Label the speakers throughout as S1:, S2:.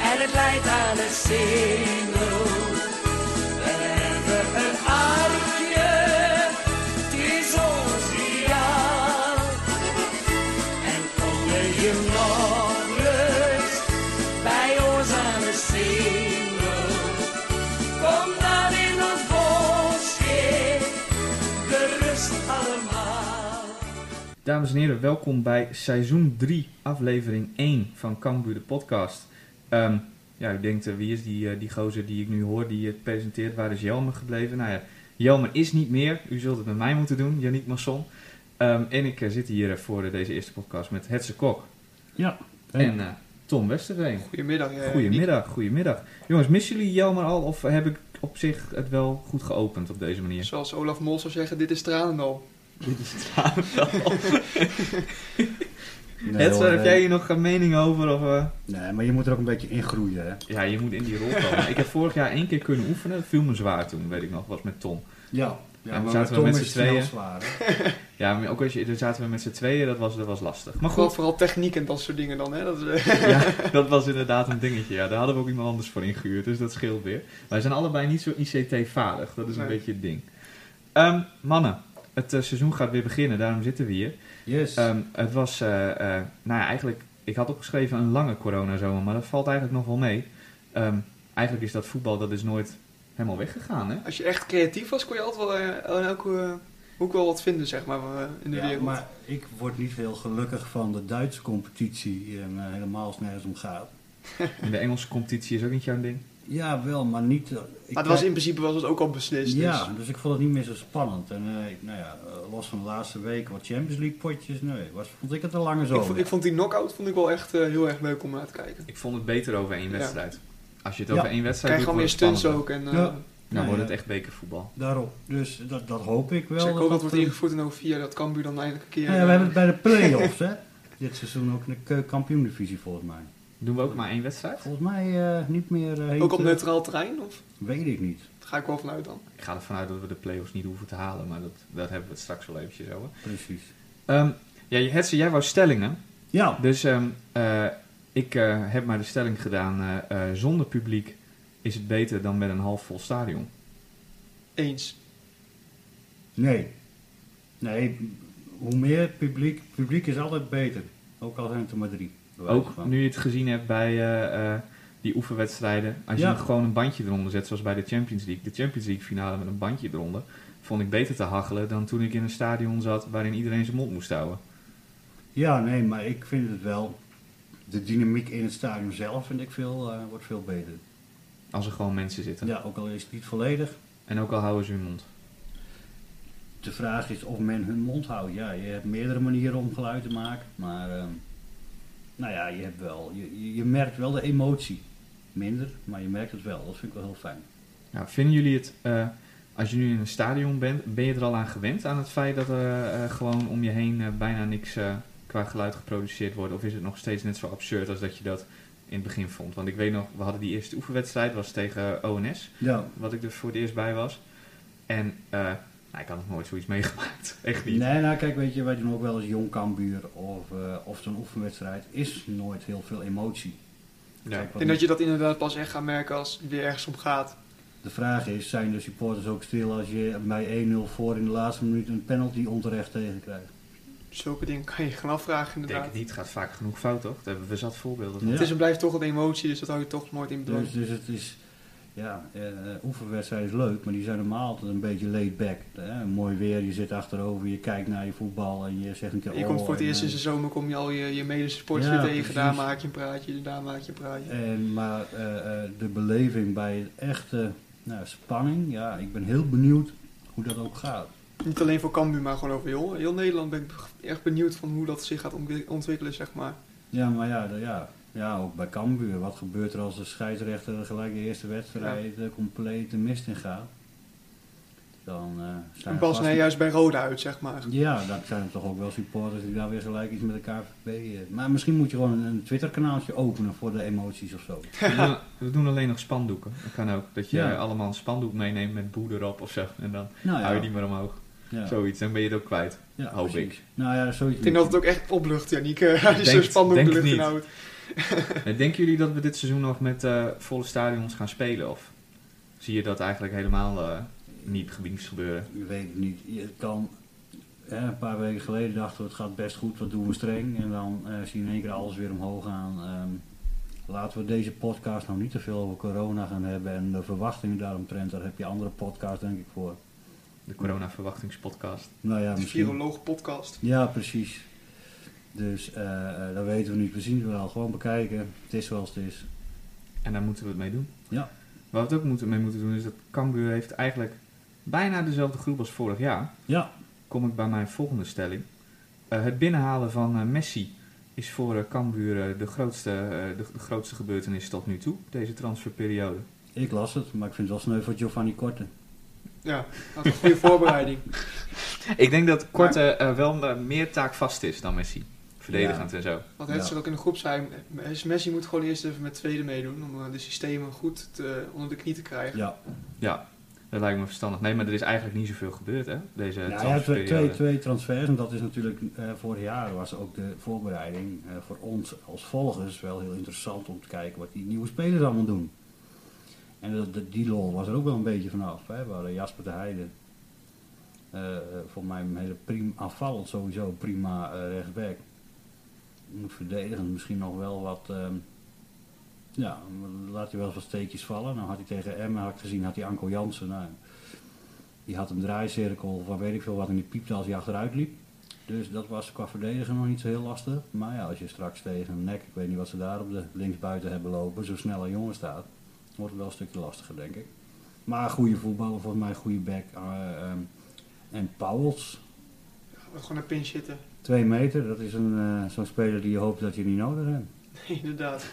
S1: tijd aan het zingen. We hebben een armpje, het is ons ideaal. En komen je morgens bij ons aan het zingen. Kom dan in ons bosje, gerust allemaal.
S2: Dames en heren, welkom bij seizoen 3, aflevering 1 van Cambuur de podcast. Ehm, ja, u denkt, eh, wie is die, eh, die gozer die ik nu hoor, die het presenteert? Waar is Jelmer gebleven? Nou ja, Jelmer is niet meer. U zult het met mij moeten doen, Yannick Masson. Ehm, en ik eh, zit hier eh, voor eh, deze eerste podcast met Hetse Kok
S3: Ja.
S2: en eh, Tom Westerveen.
S4: Goedemiddag. eh, Niek.
S2: Goedemiddag, goedemiddag. Jongens, missen jullie Jelmer al of heb ik op zich het wel goed geopend op deze manier?
S4: Zoals Olaf Mol zou zeggen, dit is tranendal.
S3: Nee,
S2: Hetzer,
S3: hoor,
S2: heb
S3: eh,
S2: jij hier nog een mening over? Of, eh?
S3: Nee, maar je moet er ook een beetje in groeien, hè?
S2: Ja, je moet in die rol komen. ik heb vorig jaar één keer kunnen oefenen. Dat viel me zwaar toen, weet ik nog. was met Tom.
S3: Ja.
S2: Ja, maar zaten we met z'n tweeën?
S3: zwaar, hè?
S2: Ja, maar ook als je... Daar zaten we met z'n tweeën. Dat was, dat was lastig. Maar
S4: Vooral,
S2: goed,
S4: vooral techniek en dat soort dingen dan. Hè? Dat is, eh,
S2: ja, dat was inderdaad een dingetje. Ja, daar hadden we ook iemand anders voor ingehuurd. Dus dat scheelt weer. Wij zijn allebei niet zo ICT-vaardig. Dat is een
S4: Nee.
S2: beetje het ding. Ehm, mannen, het eh, seizoen gaat weer beginnen. Daarom zitten we hier.
S3: Yes.
S2: Ehm, het was... eh, eh, nou ja, eigenlijk... Ik had opgeschreven een lange coronazomer. Maar dat valt eigenlijk nog wel mee. Ehm, eigenlijk is dat voetbal... Dat is nooit helemaal weggegaan, hè?
S4: als je echt creatief was, kon je altijd wel eh, in elke eh, hoek wel wat vinden, zeg maar, eh, in de
S3: ja,
S4: wereld.
S3: maar ik word niet heel gelukkig van de Duitse competitie en eh, helemaal als het nergens om gaat.
S2: En de Engelse competitie is ook niet jouw ding.
S3: Ja, wel, maar niet... eh, ik
S4: maar het was in
S3: kijk-
S4: principe was het ook al beslist.
S3: Ja,
S4: Dus.
S3: dus ik vond het niet meer zo spannend. En eh, nou ja, eh, los van de laatste week wat Champions League potjes, nee, was, vond ik het een lange
S4: Ik,
S3: zomer.
S4: vond, ik vond die knock-out vond ik wel echt eh, heel erg leuk om naar te kijken.
S2: Ik vond het beter over één
S4: Ja.
S2: wedstrijd. Als je het
S3: Ja.
S2: over één wedstrijd
S4: Krijg gewoon
S2: doet,
S4: meer
S2: wordt het
S4: stunts ook. En, eh
S3: Ja.
S2: spannender. Dan
S3: Nou
S2: wordt
S3: ja.
S2: het echt bekervoetbal.
S3: Daarop. Dus dat, dat hoop ik wel.
S4: dus ik hoop dat wordt
S3: eh,
S4: ingevoerd in over 4 dat Cambuur dan eindelijk een keer...
S3: nou ja, we hebben het
S4: eh,
S3: bij de play-offs, hè. Dit seizoen ook in de kampioendivisie volgens mij.
S2: Doen we ook maar één wedstrijd?
S3: Volgens mij eh, niet meer... eh, heet,
S4: ook op
S3: eh,
S4: neutraal terrein, of?
S3: Weet ik niet.
S4: Daar ga ik wel vanuit dan.
S2: Ik ga ervan uit dat we de play-offs niet hoeven te halen, maar dat, dat hebben we het straks wel eventjes over.
S3: Precies.
S2: Ehm ja, Hetze, jij wou stellingen.
S3: Ja,
S2: Dus ehm, eh, ik eh, heb maar de stelling gedaan, eh, eh, zonder publiek is het beter dan met een half vol stadion.
S3: Oh,
S4: Eens.
S3: nee. Nee, hoe meer publiek, publiek is altijd beter. Ook al zijn het er maar drie. bij wijze
S2: Ook
S3: van.
S2: nu je het gezien hebt bij eh, eh, die oefenwedstrijden. Als je
S3: Ja.
S2: nog gewoon een bandje eronder zet, zoals bij de Champions League. De Champions League finale met een bandje eronder. Vond ik beter te hachelen dan toen ik in een stadion zat waarin iedereen zijn mond moest houden.
S3: Ja, nee, maar ik vind het wel. De dynamiek in het stadion zelf vind ik veel, eh, wordt veel beter.
S2: Als er gewoon mensen zitten.
S3: Ja, ook al is het niet volledig.
S2: En ook al houden ze hun mond.
S3: De vraag is of men hun mond houdt. Ja, je hebt meerdere manieren om geluid te maken. Maar, ehm, nou ja, je, hebt wel, je, je- je merkt wel de emotie. Minder, maar je merkt het wel. Dat vind ik wel heel fijn.
S2: Nou, vinden jullie het, eh, als je nu in een stadion bent, ben je er al aan gewend? Aan het feit dat er eh, eh, gewoon om je heen eh, bijna niks eh, qua geluid geproduceerd wordt? Of is het nog steeds net zo absurd als dat je dat in het begin vond? Want ik weet nog, we hadden die eerste oefenwedstrijd, was tegen ONS.
S3: Ja,
S2: wat ik er voor het eerst bij was. En eh, nou, ik had nog nooit zoiets meegemaakt. Echt niet.
S3: Nee, nou kijk, weet je, wij doen ook wel eens jong Kambuur of, eh, of zo'n oefenwedstrijd. Is nooit heel veel emotie.
S2: Ja.
S3: Kijk,
S4: Ik
S3: wat
S4: denk dat je dat inderdaad pas echt gaat merken als het weer ergens om gaat.
S3: De vraag is, zijn de supporters ook stil als je bij 1-0 voor in de laatste minuut een penalty onterecht tegenkrijgt?
S4: Zulke dingen kan je gaan afvragen
S2: Ik denk
S4: inderdaad.
S2: het niet. gaat vaak genoeg fout, toch? Daar hebben we zat voorbeelden van.
S3: Ja.
S4: Het is en blijft toch een emotie, dus dat hou je toch nooit in bedwang.
S3: Dus, dus het is, ja, eh, oefenwedstrijd is leuk, maar die zijn normaal altijd een beetje laid back. Hè? Mooi weer, je zit achterover, je kijkt naar je voetbal en je zegt een keer
S4: je komt
S3: oh,
S4: voor het
S3: en,
S4: eerst in
S3: eh,
S4: de zomer, kom je al je, je medesupporters
S3: Ja,
S4: weer tegen. Daar
S3: precies.
S4: maak je een praatje, daar maak je een praatje.
S3: En, maar eh, eh, de beleving bij het echte nou, spanning, ja, ik ben heel benieuwd hoe dat ook gaat.
S4: Niet alleen voor Cambuur, maar gewoon over heel, heel Nederland ben ik echt benieuwd van hoe dat zich gaat ontwik- ontwikkelen, zeg maar.
S3: Ja, maar ja, de- ja. ja ook bij Cambuur. Wat gebeurt er als de scheidsrechter gelijk de eerste wedstrijd eh, compleet de mist in gaat? Dan eh zijn
S4: en
S3: er
S4: pas
S3: vast-
S4: nee, juist bij Roda uit, zeg maar.
S3: Ja, dan zijn er toch ook wel supporters die daar weer gelijk iets met de KVB... eh, Maar misschien moet je gewoon een, een Twitter-kanaaltje openen voor de emoties of zo.
S2: We, doen, we doen alleen nog spandoeken. Dat kan ook. Dat je
S3: Ja.
S2: eh, allemaal een spandoek meeneemt met boe erop of zo. En dan
S3: Nou ja,
S2: hou je die maar omhoog.
S3: ja,
S2: Zoiets. Dan ben je het ook kwijt.
S3: ja,
S2: hoop
S3: precies. Nou ja, zoiets
S4: Ik denk dat het ook echt oplucht, Janiek, eh, als je
S2: Denk-
S4: zo'n spandoek
S2: denk
S4: de
S2: het
S4: lucht
S2: niet.
S4: inhoudt.
S2: Eh, Denken jullie dat we dit seizoen nog met eh, volle stadions gaan spelen? Of zie je dat eigenlijk helemaal eh, niet gebieds gebeuren?
S3: Je weet het niet. Je- Het kan. Hè, een paar weken geleden dachten we het gaat best goed, wat doen we streng. En dan eh, zie je in één keer alles weer omhoog gaan. Ehm, laten we deze podcast nou niet te veel over corona gaan hebben en de verwachtingen daaromtrent. Daar heb je andere podcasts denk ik voor.
S2: De corona-verwachtingspodcast.
S3: Nou ja,
S4: De
S3: misschien.
S4: viroloog podcast.
S3: Ja, precies. Dus eh, eh, dat weten we niet. We zien het wel. Gewoon bekijken. Het is zoals het is.
S2: En daar moeten we het mee doen.
S3: Ja.
S2: Waar we het ook moeten, mee moeten doen is dat Cambuur heeft eigenlijk bijna dezelfde groep als vorig jaar.
S3: Ja,
S2: Kom ik bij mijn volgende stelling. Eh, het binnenhalen van eh, Messi is voor eh, Cambuur eh, de, grootste, eh, de, de grootste gebeurtenis tot nu toe, deze transferperiode.
S3: ik las het, maar ik vind het wel sneu voor Giovanni Korte.
S4: Ja, dat is een goede voorbereiding.
S2: Ik denk dat Korte eh, wel eh, meer taakvast is dan Messi. Verdedigend en zo.
S4: Want het
S3: Ja.
S4: ze ook in de groep zei, eh, Messi moet gewoon eerst even met tweede meedoen om eh, de systemen goed te, onder de knie te krijgen.
S3: Ja,
S2: Ja, dat lijkt me verstandig. Nee, maar er is eigenlijk niet zoveel gebeurd, hè? Deze
S3: nou, ja twee,
S2: transferperiode.
S3: twee, twee transfers. En dat is natuurlijk eh, vorig jaar was ook de voorbereiding eh, voor ons als volgers wel heel interessant om te kijken wat die nieuwe spelers allemaal doen. En dat, dat- die lol was er ook wel een beetje vanaf. Hè? We hadden Jasper de Heijden. Eh, eh, voor mij een hele prima, aanvallend sowieso prima eh rechtsback. Moet verdedigen misschien nog wel wat. ehm, ja, laat hij wel eens wat steekjes vallen. Nou had hij tegen Emmen had ik gezien, had hij Anko Jansen. Nou, die had een draaicirkel van weet ik veel wat en die piepte als hij achteruit liep. Dus dat was qua verdedigen nog niet zo heel lastig. Maar ja, als je straks tegen een nek, ik weet niet wat ze daar op de linksbuiten hebben lopen, zo snel een jongen staat, wordt het wel een stukje lastiger, denk ik. Maar goede voetballer, volgens mij goede back. eh, ehm, en Pauwels,
S4: Gewoon een pinch zitten.
S3: twee meter, dat is een, eh, zo'n speler die je hoopt dat je niet nodig hebt.
S4: Nee, inderdaad.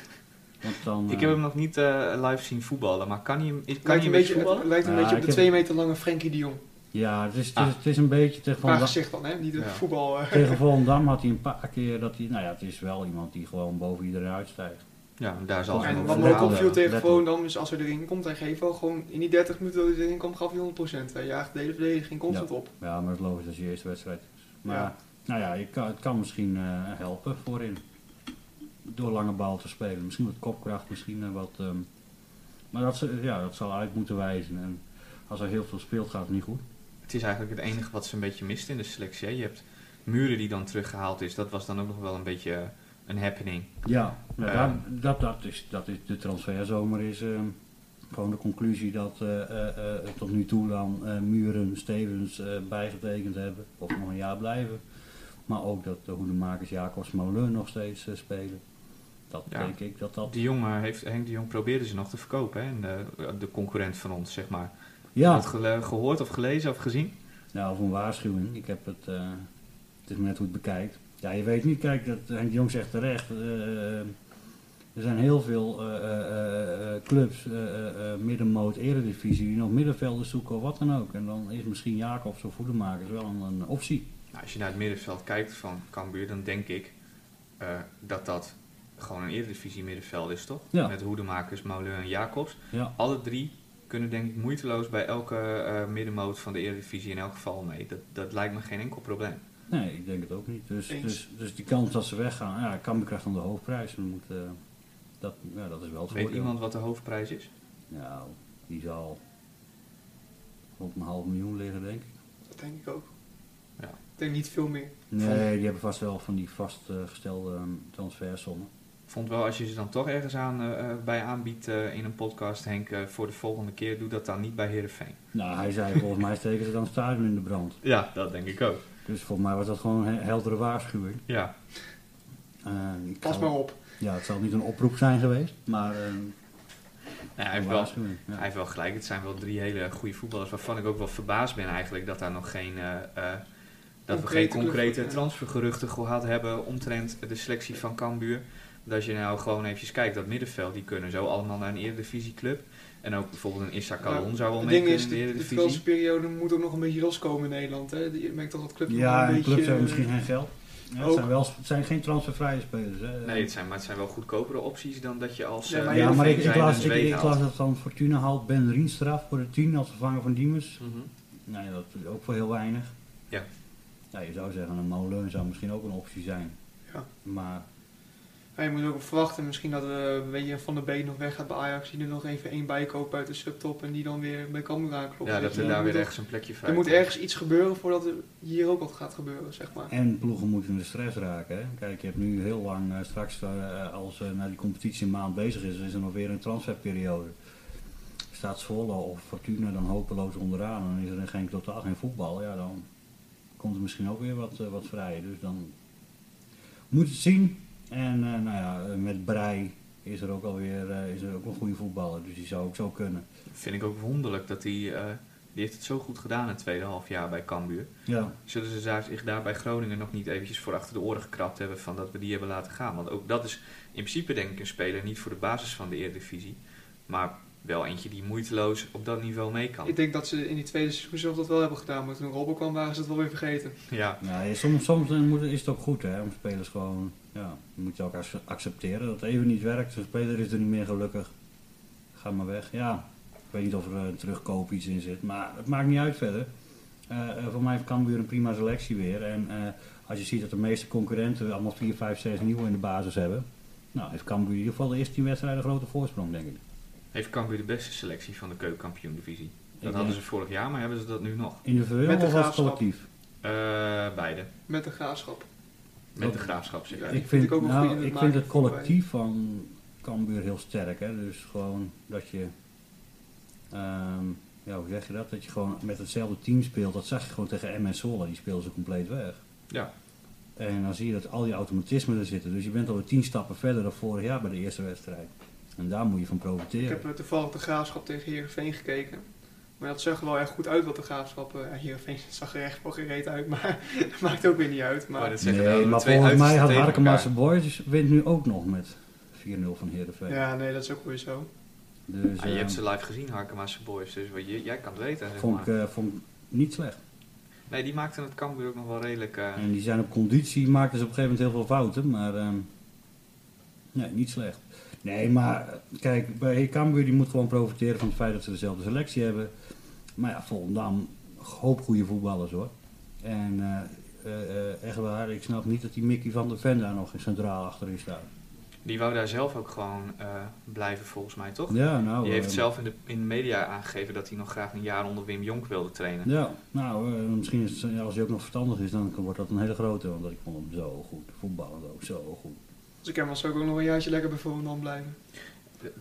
S3: Want dan,
S2: Ik
S3: eh,
S2: heb hem nog niet eh, live zien voetballen, maar kan hij, hem- is- kan
S4: Lijkt
S2: hij
S4: een
S2: een beetje
S4: beetje, het
S2: voetballen?
S4: lijkt een
S3: Ah,
S4: beetje op
S3: ik
S4: de
S3: heb-
S4: twee meter lange Frenkie de Jong.
S3: Ja, het is, het,
S2: Ah.
S3: is, het is een beetje tegen Van
S4: Qua
S3: Dam-
S4: gezicht dan, hè? Niet het
S2: Ja.
S4: voetbal. eh.
S3: tegen Volendam had hij een paar keer dat hij, nou ja, het is wel iemand die gewoon boven iedereen uitstijgt.
S2: Ja, daar zal hij
S4: En
S2: hem
S4: wat
S2: ook
S4: me ook
S3: verhalen,
S4: opviel tegen
S3: letterlijk.
S4: Volendam is als hij erin komt, hij geeft wel gewoon in die 30 minuten dat hij erin kwam, gaf hij 100%. Hij jaagt de hele verdediging constant op.
S3: Ja, maar het is logisch als je eerste wedstrijd is. Maar
S4: Ja.
S3: nou ja, je kan, het kan misschien eh, helpen voorin. Door lange bal te spelen. Misschien wat kopkracht, misschien eh, wat. ehm, maar dat, ze- ja, dat zal uit moeten wijzen. En als er heel veel speelt, gaat het niet goed.
S2: Het is eigenlijk het enige wat ze een beetje mist in de selectie. Hè? Je hebt Muren die dan teruggehaald is, dat was dan ook nog wel een beetje eh, een happening.
S3: Ja, nou,
S2: Eh.
S3: daar- dat, dat, is, dat is de transferzomer is ehm, gewoon de conclusie dat eh, eh, eh, tot nu toe dan eh, Muren, Stevens eh, bijgetekend hebben of nog een jaar blijven. Maar ook dat de hoedemakers Jacobs Molen nog steeds eh, spelen. Dat
S2: Ja.
S3: denk ik dat dat.
S2: De Jong eh, heeft, Henk de Jong probeerde ze nog te verkopen, hè? En, eh, de concurrent van ons, zeg maar.
S3: Ja,
S2: Had gele- gehoord of gelezen of gezien?
S3: Nou, of een waarschuwing. Ik heb het. eh, het is maar net hoe het bekijkt. Ja, je weet niet. Kijk, dat, Henk de Jong zegt terecht. eh, er zijn heel veel eh, eh, eh, clubs, eh, eh, eh, middenmoot, eredivisie, die nog middenvelders zoeken of wat dan ook. En dan is misschien Jacobs of Voedemakers wel een, een optie.
S2: Nou, als je naar het middenveld kijkt van Cambuur, dan denk ik eh, dat dat gewoon een eredivisie middenveld is, toch?
S3: Ja.
S2: Met Hoedemakers, Molen en Jacobs.
S3: Ja,
S2: Alle drie kunnen denk ik moeiteloos bij elke eh, middenmoot van de eredivisie in elk geval mee. Dat, dat lijkt me geen enkel probleem.
S3: nee, ik denk het ook niet. Dus,
S4: Eens.
S3: dus, dus die kans dat ze weggaan, ja, kan krijgt dan de hoofdprijs. We moeten, eh, dat, ja, dat is wel het
S2: Weet
S3: voordeel.
S2: iemand wat de hoofdprijs is?
S3: Nou, die zal op een half miljoen liggen, denk ik.
S4: Dat denk ik ook.
S2: Ja.
S4: Ik denk niet veel meer.
S3: Nee, die hebben vast wel van die vastgestelde ehm, transfersommen.
S2: Vond wel, als je ze dan toch ergens aan, eh, eh, bij aanbiedt eh, in een podcast, Henk, eh, voor de volgende keer, doe dat dan niet bij Herenveen.
S3: Nou, hij zei volgens mij steken ze dan het stadion in de brand.
S2: Ja, dat denk ik ook.
S3: Dus volgens mij was dat gewoon een he- heldere waarschuwing.
S2: Ja,
S3: Eh, ik
S4: Pas
S3: zal-
S4: maar op.
S3: Ja, het zal niet een oproep zijn geweest, maar ehm,
S2: Nou, hij
S3: een
S2: heeft wel
S3: waarschuwing. ja.
S2: Hij heeft wel gelijk. Het zijn wel drie hele goede voetballers waarvan ik ook wel verbaasd ben eigenlijk dat daar nog geen. eh, eh, dat we geen
S4: Concrete
S2: concrete
S4: club-
S2: transfergeruchten gehad hebben omtrent de selectie van Cambuur. Want als je nou gewoon eventjes kijkt, dat middenveld, die kunnen zo allemaal naar een eredivisieclub. En ook bijvoorbeeld een Issa Calon
S4: Maar
S2: zou wel
S4: Het
S2: mee
S4: ding
S2: kunnen
S4: is,
S2: in de
S4: de, de
S2: eredivisie.
S4: transferperiode moet ook nog een beetje loskomen in Nederland. Hè? Je merkt toch dat clubs nog
S3: ja,
S4: een
S3: en
S4: beetje... eh,
S3: clubs hebben misschien geen geld. Ja, het,
S4: ook.
S3: zijn wel, het zijn geen transfervrije spelers. Hè.
S2: Oh. Nee, het zijn, maar het zijn wel goedkopere opties dan dat je als
S4: Ja,
S2: eh,
S4: maar
S3: ja, maar ik,
S2: Heerenveen
S3: ik,
S2: zijnde
S3: las,
S2: een
S3: ik,
S2: Zweed
S3: ik
S2: haalt.
S3: las dat dan Fortuna haalt Ben Rienstraf voor de 10 als vervanger van Diemers.
S2: Mhm.
S3: Nee, dat is ook voor heel weinig.
S2: Ja.
S3: Ja, je zou zeggen, een molen zou misschien ook een optie zijn.
S4: Ja.
S3: Maar
S4: Maar je moet ook verwachten misschien dat we weet je, Van de Beek nog weg gaat bij Ajax. Die er nog even één bij koopt uit de subtop en die dan weer bij Cambuur aanklopt.
S2: Ja,
S4: Weet
S2: dat
S4: je,
S2: er
S4: dan
S2: daar
S4: moet
S2: weer
S4: toch-
S2: ergens een plekje vrij
S4: Er moet
S2: komt.
S4: ergens iets gebeuren voordat er hier ook wat gaat gebeuren, zeg maar.
S3: En ploegen moeten in de stress raken. Hè? Kijk, je hebt nu heel lang, eh, straks eh, als eh naar die competitie een maand bezig is, is er nog weer een transferperiode. Staat Zwolle of Fortuna dan hopeloos onderaan en is er geen, totaal geen voetbal, ja dan komt er misschien ook weer wat, eh, wat vrij. Dus dan moet het zien. En eh, nou ja, eh, met Brei is er ook alweer eh, is er ook een goede voetballer, dus die zou ook zo kunnen.
S2: Vind ik ook wonderlijk dat hij. eh, die heeft het zo goed gedaan in het tweede half jaar bij Cambuur.
S3: Ja,
S2: Zullen ze daar- zich daar bij Groningen nog niet eventjes voor achter de oren gekrapt hebben van dat we die hebben laten gaan? Want ook dat is in principe denk ik een speler niet voor de basis van de Eredivisie. Maar wel eentje die moeiteloos op dat niveau mee kan.
S4: Ik denk dat ze in die tweede seizoen zelf dat wel hebben gedaan, maar toen Robben kwam waren ze het wel weer vergeten.
S2: Ja,
S3: Ja, ja, soms, soms eh, moet- is het ook goed hè, om spelers gewoon, ja, je moet je ook ac- accepteren dat het even niet werkt. De speler is er niet meer gelukkig. Ga maar weg. Ja, ik weet niet of er eh, een terugkoop iets in zit, maar het maakt niet uit verder. Eh, eh, voor mij kan weer een prima selectie weer. En eh, als je ziet dat de meeste concurrenten allemaal 4, 5, 6 nieuwe in de basis hebben. Nou, heeft Cambuur in ieder geval de eerste 10 wedstrijden een grote voorsprong, denk ik.
S2: heeft Cambuur de beste selectie van de keukenkampioen-divisie. Dat
S3: denk-
S2: hadden ze vorig jaar, maar hebben ze dat nu nog?
S3: Individueel
S4: Met de
S3: of als
S4: Graafschap.
S3: collectief?
S2: Eh, beide.
S4: Met de graafschap.
S2: Met
S3: Dat-
S2: de graafschap zeg
S4: Ja,
S2: ik.
S3: Oh. Ik
S4: vind
S3: vind,
S4: ik ook wel goed in
S3: nou,
S4: het
S3: ik vind
S4: maken
S3: het collectief van Cambuur heel sterk. Hè? Dus gewoon dat je, ehm, ja, hoe zeg je dat? Dat je gewoon met hetzelfde team speelt. Dat zag je gewoon tegen MS Zwolle. Die speelden ze compleet weg.
S2: Ja.
S3: En dan zie je dat al die automatismen er zitten. Dus je bent alweer tien stappen verder dan vorig jaar bij de eerste wedstrijd. En daar moet je van
S4: Ik
S3: profiteren.
S4: heb eh, toevallig de graafschap tegen Heerenveen gekeken. Maar dat zag er wel erg goed uit wat de graafschap... eh, ja, Heerenveen zag er echt wel gereed uit, maar dat maakt ook weer niet uit. Maar,
S2: Maar Oh, dat zeggen
S3: nee,
S2: wel de
S3: maar
S2: twee
S3: volgens mij
S2: uitersten
S3: had
S2: tegen
S3: Harkemaarse
S2: elkaar.
S3: Boys dus wint nu ook nog met 4-0 van Heerenveen.
S4: ja, nee, dat is ook weer zo.
S3: Dus
S2: Ah, je hebt
S3: ehm,
S2: ze live gezien, Harkema's Boys. Dus wat je- jij kan het weten. Zeg
S3: vond, ik,
S2: maar.
S3: eh, vond ik niet slecht.
S2: Nee, die maakten het Cambuur ook nog wel redelijk... eh,
S3: En die zijn op conditie, maakten ze op een gegeven moment heel veel fouten, maar ehm, nee, niet slecht. Nee, maar eh, kijk, bij Cambuur die moet gewoon profiteren van het feit dat ze dezelfde selectie hebben. Maar ja, Volendam, een hoop goede voetballers hoor. En eh, eh, eh, echt waar, ik snap niet dat die Mickey van der Ven daar nog in centraal achterin staat.
S2: Die wou daar zelf ook gewoon eh, blijven, volgens mij, toch?
S3: Ja,
S4: Oh,
S3: nou,
S2: Die heeft
S3: eh,
S2: zelf in de, in de media aangegeven dat hij nog graag een jaar onder Wim Jonk wilde trainen.
S3: Ja, nou, eh, misschien is het, ja, als hij ook nog verstandig is, dan wordt dat een hele grote. Want ik vond hem zo goed, voetballend ook zo goed.
S4: Dus ik heb wel zou ik ook nog een jaartje lekker bij Volendam blijven.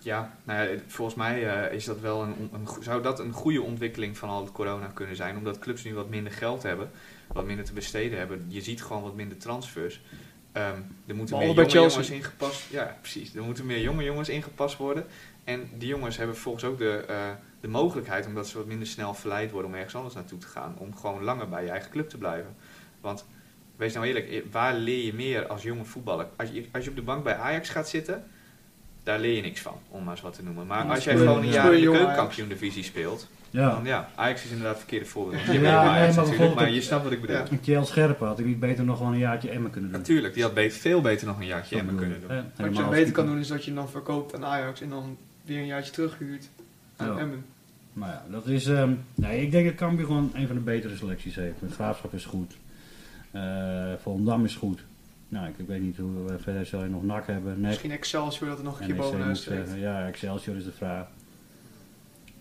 S2: Ja, nou ja, volgens mij eh, is dat wel een, on- een, go- zou dat een goede ontwikkeling van al het corona kunnen zijn. Omdat clubs nu wat minder geld hebben, wat minder te besteden hebben. Je ziet gewoon wat minder transfers. Ehm, er moeten
S4: Behalve
S2: meer
S4: bij
S2: jonge
S4: Chelsea.
S2: jongens ingepast Ja, precies. Er moeten meer jonge jongens ingepast worden. En die jongens hebben volgens ook de, eh, de mogelijkheid, omdat ze wat minder snel verleid worden om ergens anders naartoe te gaan. Om gewoon langer bij je eigen club te blijven. Want wees nou eerlijk, eh, waar leer je meer als jonge voetballer? Als je, als je op de bank bij Ajax gaat zitten, daar leer je niks van, om maar eens wat te noemen. Maar
S4: Ja,
S2: als jij
S3: speel-
S2: gewoon een
S3: ja.
S2: jaar in de
S4: Speel jong
S2: keukenkampioen-divisie speelt, dan ja, Ajax is inderdaad het verkeerde voorbeeld. Want je
S3: Ja,
S2: bent bij
S3: nee, maar
S2: Ajax natuurlijk,
S3: bijvoorbeeld
S2: maar
S3: ook-
S2: je snapt wat ik bedoel.
S4: Ja.
S3: En Kjell Scherpen had ik niet beter nog gewoon een jaartje Emmen kunnen doen.
S2: Natuurlijk, die had beter, veel beter nog een jaartje Emmen kunnen doen.
S3: Helemaal
S4: Wat je
S3: als
S4: beter
S3: die-
S4: kan doen is dat je hem dan verkoopt aan Ajax en dan weer een jaartje terughuurt aan
S3: Ja.
S4: Emmen.
S3: Maar ja, dat is. ehm, nee, ik denk dat Cambuur gewoon een van de betere selecties heeft. De Graafschap is goed. Eh Volendam is goed. Nou, ik, ik weet niet hoe we verder zal je nog NAC hebben. NEC.
S4: Misschien Excelsior dat er nog een keer
S3: NEC moet eh,
S4: bovenuit
S3: ik
S4: steekt.
S3: zeggen. Ja, Excelsior is de vraag.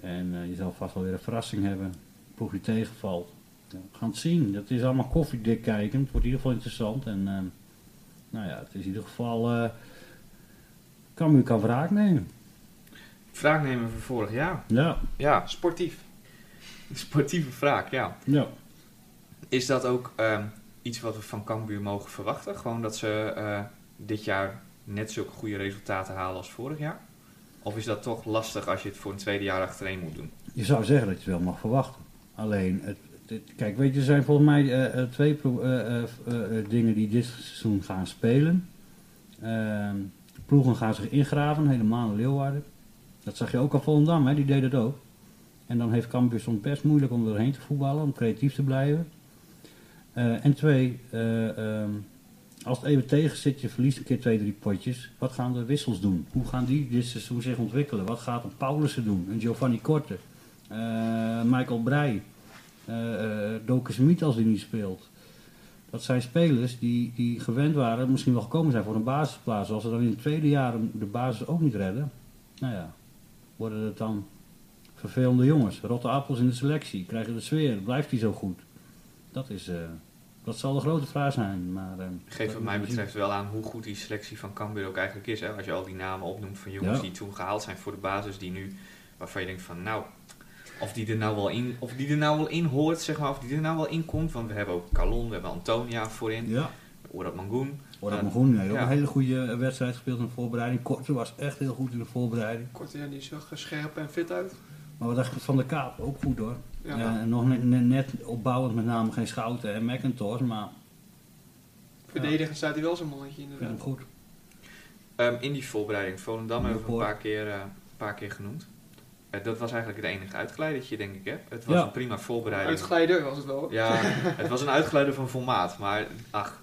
S3: En eh, je zal vast wel weer een verrassing hebben. Ploeg je tegenvalt. Ja, we gaan het zien. Dat is allemaal koffiedik kijken. Het wordt in ieder geval interessant. En ehm, nou ja, het is in ieder geval. eh Cambuur kan wraak nemen.
S2: Vraag nemen van vorig jaar.
S3: Ja,
S2: Ja,
S4: Sportief.
S2: sportieve vraag, ja.
S3: ja.
S2: Is dat ook ehm, iets wat we van Cambuur mogen verwachten? Gewoon dat ze eh, dit jaar net zulke goede resultaten halen als vorig jaar? Of is dat toch lastig als je het voor een tweede jaar achtereen moet doen?
S3: Je zou zeggen dat je het wel mag verwachten. Alleen, het, het- kijk, weet je, er zijn volgens mij eh, eh, twee pro- eh, eh, eh, eh, dingen die dit seizoen gaan spelen. Ehm, ploegen gaan zich ingraven, helemaal in Leeuwarden. Dat zag je ook al Volendam, hè, die deed het ook. En dan heeft Cambuur soms best moeilijk om erheen te voetballen, om creatief te blijven. Eh, en twee, eh, ehm, als het even tegen zit, je verliest een keer twee, drie potjes. Wat gaan de wissels doen? Hoe gaan die dit seizoen zich ontwikkelen? Wat gaat een Paulussen doen? Een Giovanni Korte? Eh, Michael Breij. eh eh, Doke Smit als die niet speelt. Dat zijn spelers die, die gewend waren, misschien wel gekomen zijn voor een basisplaats. Als ze dan in het tweede jaar de basis ook niet redden, nou ja, worden het dan vervelende jongens. Rotte appels in de selectie, krijgen de sfeer, blijft die zo goed? Dat, is, eh, dat zal de grote vraag zijn. Maar, eh,
S2: Geeft
S3: dat
S2: wat mij
S3: moet je zien.
S2: betreft wel aan hoe goed die selectie van Cambuur ook eigenlijk is. Hè? Als je al die namen opnoemt van jongens
S3: Ja.
S2: die toen gehaald zijn voor de basis, die nu, waarvan je denkt van nou, of die er nou wel in, of die er nou wel in hoort, zeg maar, of die er nou wel in komt. Want we hebben ook Calon, we hebben Antonia voorin,
S3: Ja,
S2: Orad Mangoen.
S3: wordt
S2: Ja.
S3: ook maar goed. Nee, ook
S2: Ja.
S3: een hele goede eh, wedstrijd gespeeld in de voorbereiding. Korte was echt heel goed in de voorbereiding.
S4: Korte ja, die zag er scherp en fit uit.
S3: Maar wat dacht ik van de Kaap? Ook goed hoor.
S4: Ja,
S3: Ja, Eh, en nog net, net, net opbouwend met name geen Schouten en McIntosh, maar
S4: verdedigend staat hij wel zo'n mannetje
S3: ja.
S4: inderdaad.
S3: goed.
S2: Ehm, in die voorbereiding, Volendam hebben we een
S3: Nieuwpoort.
S2: paar keer, eh, een paar keer genoemd. Eh, dat was eigenlijk het enige uitgeleidertje, denk ik. Hè? Het was
S3: Ja.
S2: een prima voorbereiding.
S4: Uitglijder was het wel.
S2: Ja, het was een uitgeleider van formaat. Maar ach,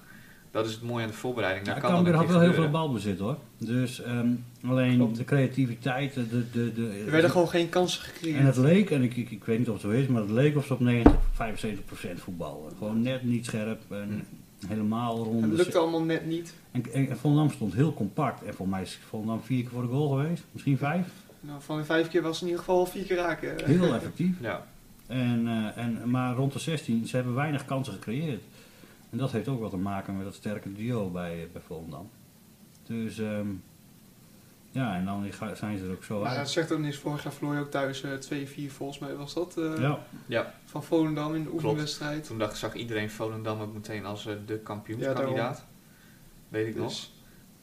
S2: dat is het mooie aan de voorbereiding. Daar
S3: Ja,
S2: kan dan
S3: Cambuur
S2: een
S3: had
S2: keer
S3: wel heel veel
S2: gebeuren.
S3: balbezit hoor. Dus ehm, alleen
S4: Klopt.
S3: de creativiteit, de... de, de, de-
S4: Er werden gewoon geen kansen gecreëerd.
S3: En het leek, en ik, ik, ik weet niet of het zo is, maar het leek of ze op 90, 75% voetballen. Gewoon net niet scherp en
S2: Hm.
S3: helemaal rond.
S4: Het
S3: de
S4: lukte allemaal net niet.
S3: En, en, en Volendam stond heel compact. En voor mij is Volendam vier keer voor de goal geweest. Misschien vijf.
S4: Nou, van de vijf keer was het in ieder geval vier keer raken.
S3: Heel effectief.
S2: Ja,
S3: En, eh, en, maar rond de 16, ze hebben weinig kansen gecreëerd. En dat heeft ook wat te maken met dat sterke duo bij, eh, bij Volendam. Dus ehm, ja, en dan ga- zijn ze er ook zo
S4: Maar dat
S3: uit.
S4: zegt ook niks. Vorig jaar verloor je ook thuis eh 2-4 volgens mij was dat. eh,
S3: Ja,
S4: Van Volendam in de
S2: Klopt.
S4: oefenwedstrijd.
S2: toen dacht, zag iedereen Volendam ook meteen als eh, de kampioenskandidaat. Weet ik nog.
S4: Dus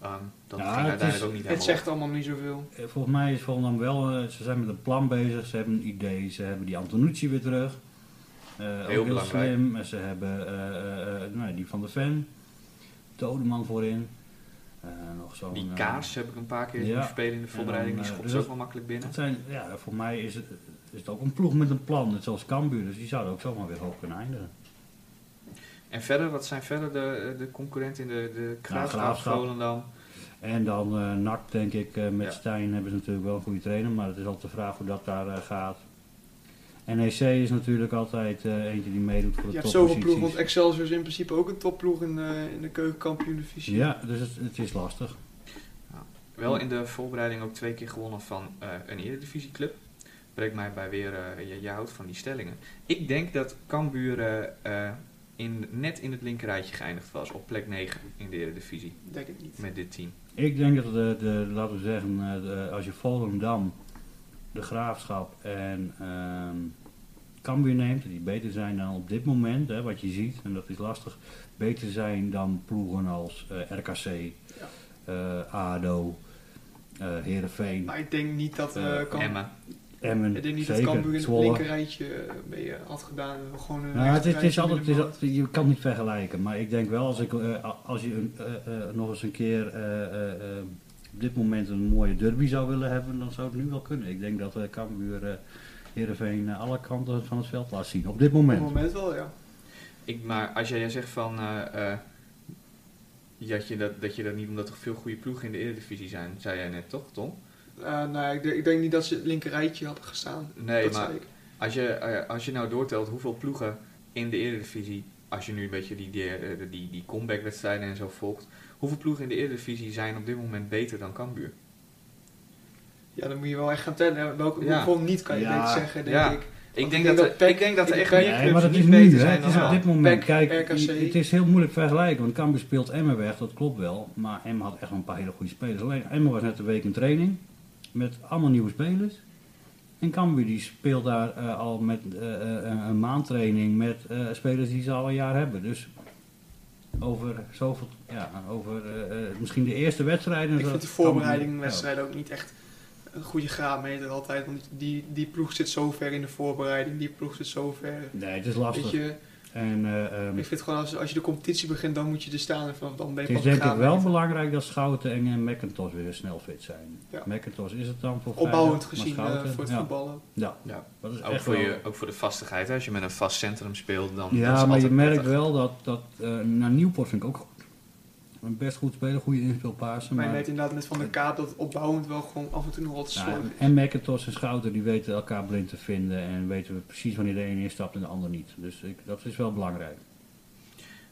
S2: Ehm, dat
S3: Ja,
S2: ging
S3: het
S2: uiteindelijk
S3: is-
S2: ook niet
S4: het
S2: helemaal
S4: zegt allemaal niet zoveel.
S3: eh, volgens mij is Volendam wel, eh, ze zijn met een plan bezig. Ze hebben een idee, ze hebben die Antonucci weer terug. Eh, ook heel
S2: belangrijk.
S3: slim. En Ze hebben eh, eh, eh, nou, ja, die van de fan. Dodeman voorin. Eh, nog zo'n,
S2: op. Die
S3: eh,
S2: kaars heb ik een paar keer
S3: Ja.
S2: zien spelen in de voorbereiding.
S3: En dan,
S2: Die
S3: eh,
S2: schopt
S3: dus
S2: ze ook
S3: dat-
S2: wel makkelijk binnen.
S3: Dat zijn, ja, voor mij is het, is het ook een ploeg met een plan, net zoals Cambuur. Dus die zouden ook zomaar weer hoog kunnen eindigen.
S2: En verder, wat zijn verder de, de concurrenten in de, de Graafschap,
S3: Graafschap.
S2: Volendam?
S3: En dan eh NAC, denk ik, eh, met
S2: Ja.
S3: Stijn hebben ze natuurlijk wel een goede trainer. Maar het is altijd de vraag hoe dat daar eh, gaat. NEC is natuurlijk altijd eh, eentje die meedoet voor de
S4: Je hebt zoveel
S3: topposities.
S4: ploegen, want Excelsior is in principe ook een topploeg in, eh, in de keukenkampioen-divisie.
S3: Ja, dus het, het is lastig.
S2: Wel in de voorbereiding ook twee keer gewonnen van eh, een eredivisieclub. Breekt mij bij weer, eh, je, je houdt van die stellingen. Ik denk dat Cambuur eh, eh, in, net in het linkerrijtje geëindigd was. Op plek 9 in de eredivisie
S4: Ik Denk het niet.
S2: met dit team.
S3: Ik denk dat, de, de, laten we zeggen, eh, de- als je Volendam, de Graafschap en ehm Cambuur neemt, die beter zijn dan op dit moment, hè, wat je ziet, en dat is lastig, beter zijn dan ploegen als eh, RKC, eh, ADO, eh Heerenveen,
S4: Maar ik denk niet dat, eh
S3: Eh,
S4: Kam-
S2: Emma.
S3: Emmen,
S4: ik denk niet
S3: zeker,
S4: dat Cambuur in het
S3: Zwolle.
S4: linkerrijtje eh, mee eh, had gedaan. Gewoon eh, een
S3: Nou, het is, het is
S4: rechterrijtje
S3: altijd, het is
S4: middenmoot.
S3: altijd- je kan het niet vergelijken, maar ik denk wel als, ik, eh, a- als je een, eh, eh, nog eens een keer eh, eh, eh, op dit moment een mooie derby zou willen hebben, dan zou het nu wel kunnen. Ik denk dat eh Cambuur eh Heerenveen eh, alle kanten van het veld laat zien, op dit
S4: Op het
S3: moment.
S4: moment wel, ja.
S2: Ik, maar als jij zegt van... eh, eh, dat, je dat, dat je dat niet omdat er veel goede ploegen in de eredivisie zijn, zei jij net toch, Tom?
S4: Eh, nou, ja, ik, denk, ik denk niet dat ze het linkerrijtje hadden gestaan.
S2: Nee,
S4: dat
S2: maar
S4: zei ik.
S2: Als je, eh, als je nou doortelt hoeveel ploegen in de Eredivisie, als je nu een beetje die, die, eh, die, die comeback-wedstrijden en zo volgt, hoeveel ploegen in de Eredivisie zijn op dit moment beter dan Cambuur?
S4: Ja, dan moet je wel echt gaan tellen. hè. Welke
S2: Ja.
S4: hoeveel niet kan je
S3: Ja.
S4: beter zeggen, denk
S2: Ja.
S4: ik.
S2: Ik
S4: ik
S2: denk,
S4: denk
S2: dat,
S4: dat
S2: er,
S4: PEC-
S2: ik denk dat er
S4: ik-
S2: echt
S4: Nee,
S2: meer
S3: maar
S2: clubs
S3: dat
S2: niet
S3: is nu,
S2: beter
S3: hè?
S2: zijn
S3: het
S2: dan
S3: is op dit
S2: Cambuur.
S3: moment.
S4: PEC,
S3: Kijk,
S4: RKC.
S3: je- het is heel moeilijk vergelijken, want Cambuur speelt Emmen weg, dat klopt wel, maar Emmen had echt wel een paar hele goede spelers. Alleen Emmen was net een week in training, met allemaal nieuwe spelers. En Cambuur die speelt daar eh, al met eh, eh, een- een maand training met eh, spelers die ze al een jaar hebben. Dus over zoveel, ja, over eh, eh, misschien de eerste wedstrijden.
S4: Ik
S3: zodat
S4: vind de
S3: Cambuur-
S4: voorbereidingwedstrijd ook niet echt een goede graadmeter altijd. Want die, die ploeg zit zo ver in de voorbereiding, die ploeg zit zo ver.
S3: Ja. Nee, het is
S4: Weet
S3: lastig.
S4: je,
S3: En, eh, ehm,
S4: ik vind gewoon als, als je de competitie begint, dan moet je er staan. En vanaf dan ben
S3: Het
S4: je
S3: is
S4: pas
S3: denk ik wel
S4: begaafd.
S3: belangrijk dat Schouten en eh, McIntosh weer snel fit zijn.
S4: Ja.
S3: McIntosh is het dan voor
S4: Opbouwend
S3: vrijdag,
S4: gezien
S3: maar
S4: eh,
S3: Schouten,
S4: voor het
S3: ja.
S4: voetballen.
S3: Ja,
S2: Ja.
S3: dat is
S2: Ook,
S3: echt
S2: voor
S3: wel-
S2: je, ook voor de vastigheid. Hè? Als je met een vast centrum speelt, dan dat is
S3: Ja, maar je
S2: altijd
S3: merkt
S2: prettig.
S3: wel dat, dat eh, naar Nieuwpoort vind ik ook goed. Een best goed speler, goede inspeelpaarsen.
S4: Maar je
S3: maar-
S4: weet inderdaad met Van der Kaap dat het opbouwend wel gewoon af en toe nog wat
S3: Ja,
S4: slordig is.
S3: en McIntosh en Schouten die weten elkaar blind te vinden en weten we precies wanneer de ene instapt en de ander niet. Dus ik, dat is wel belangrijk.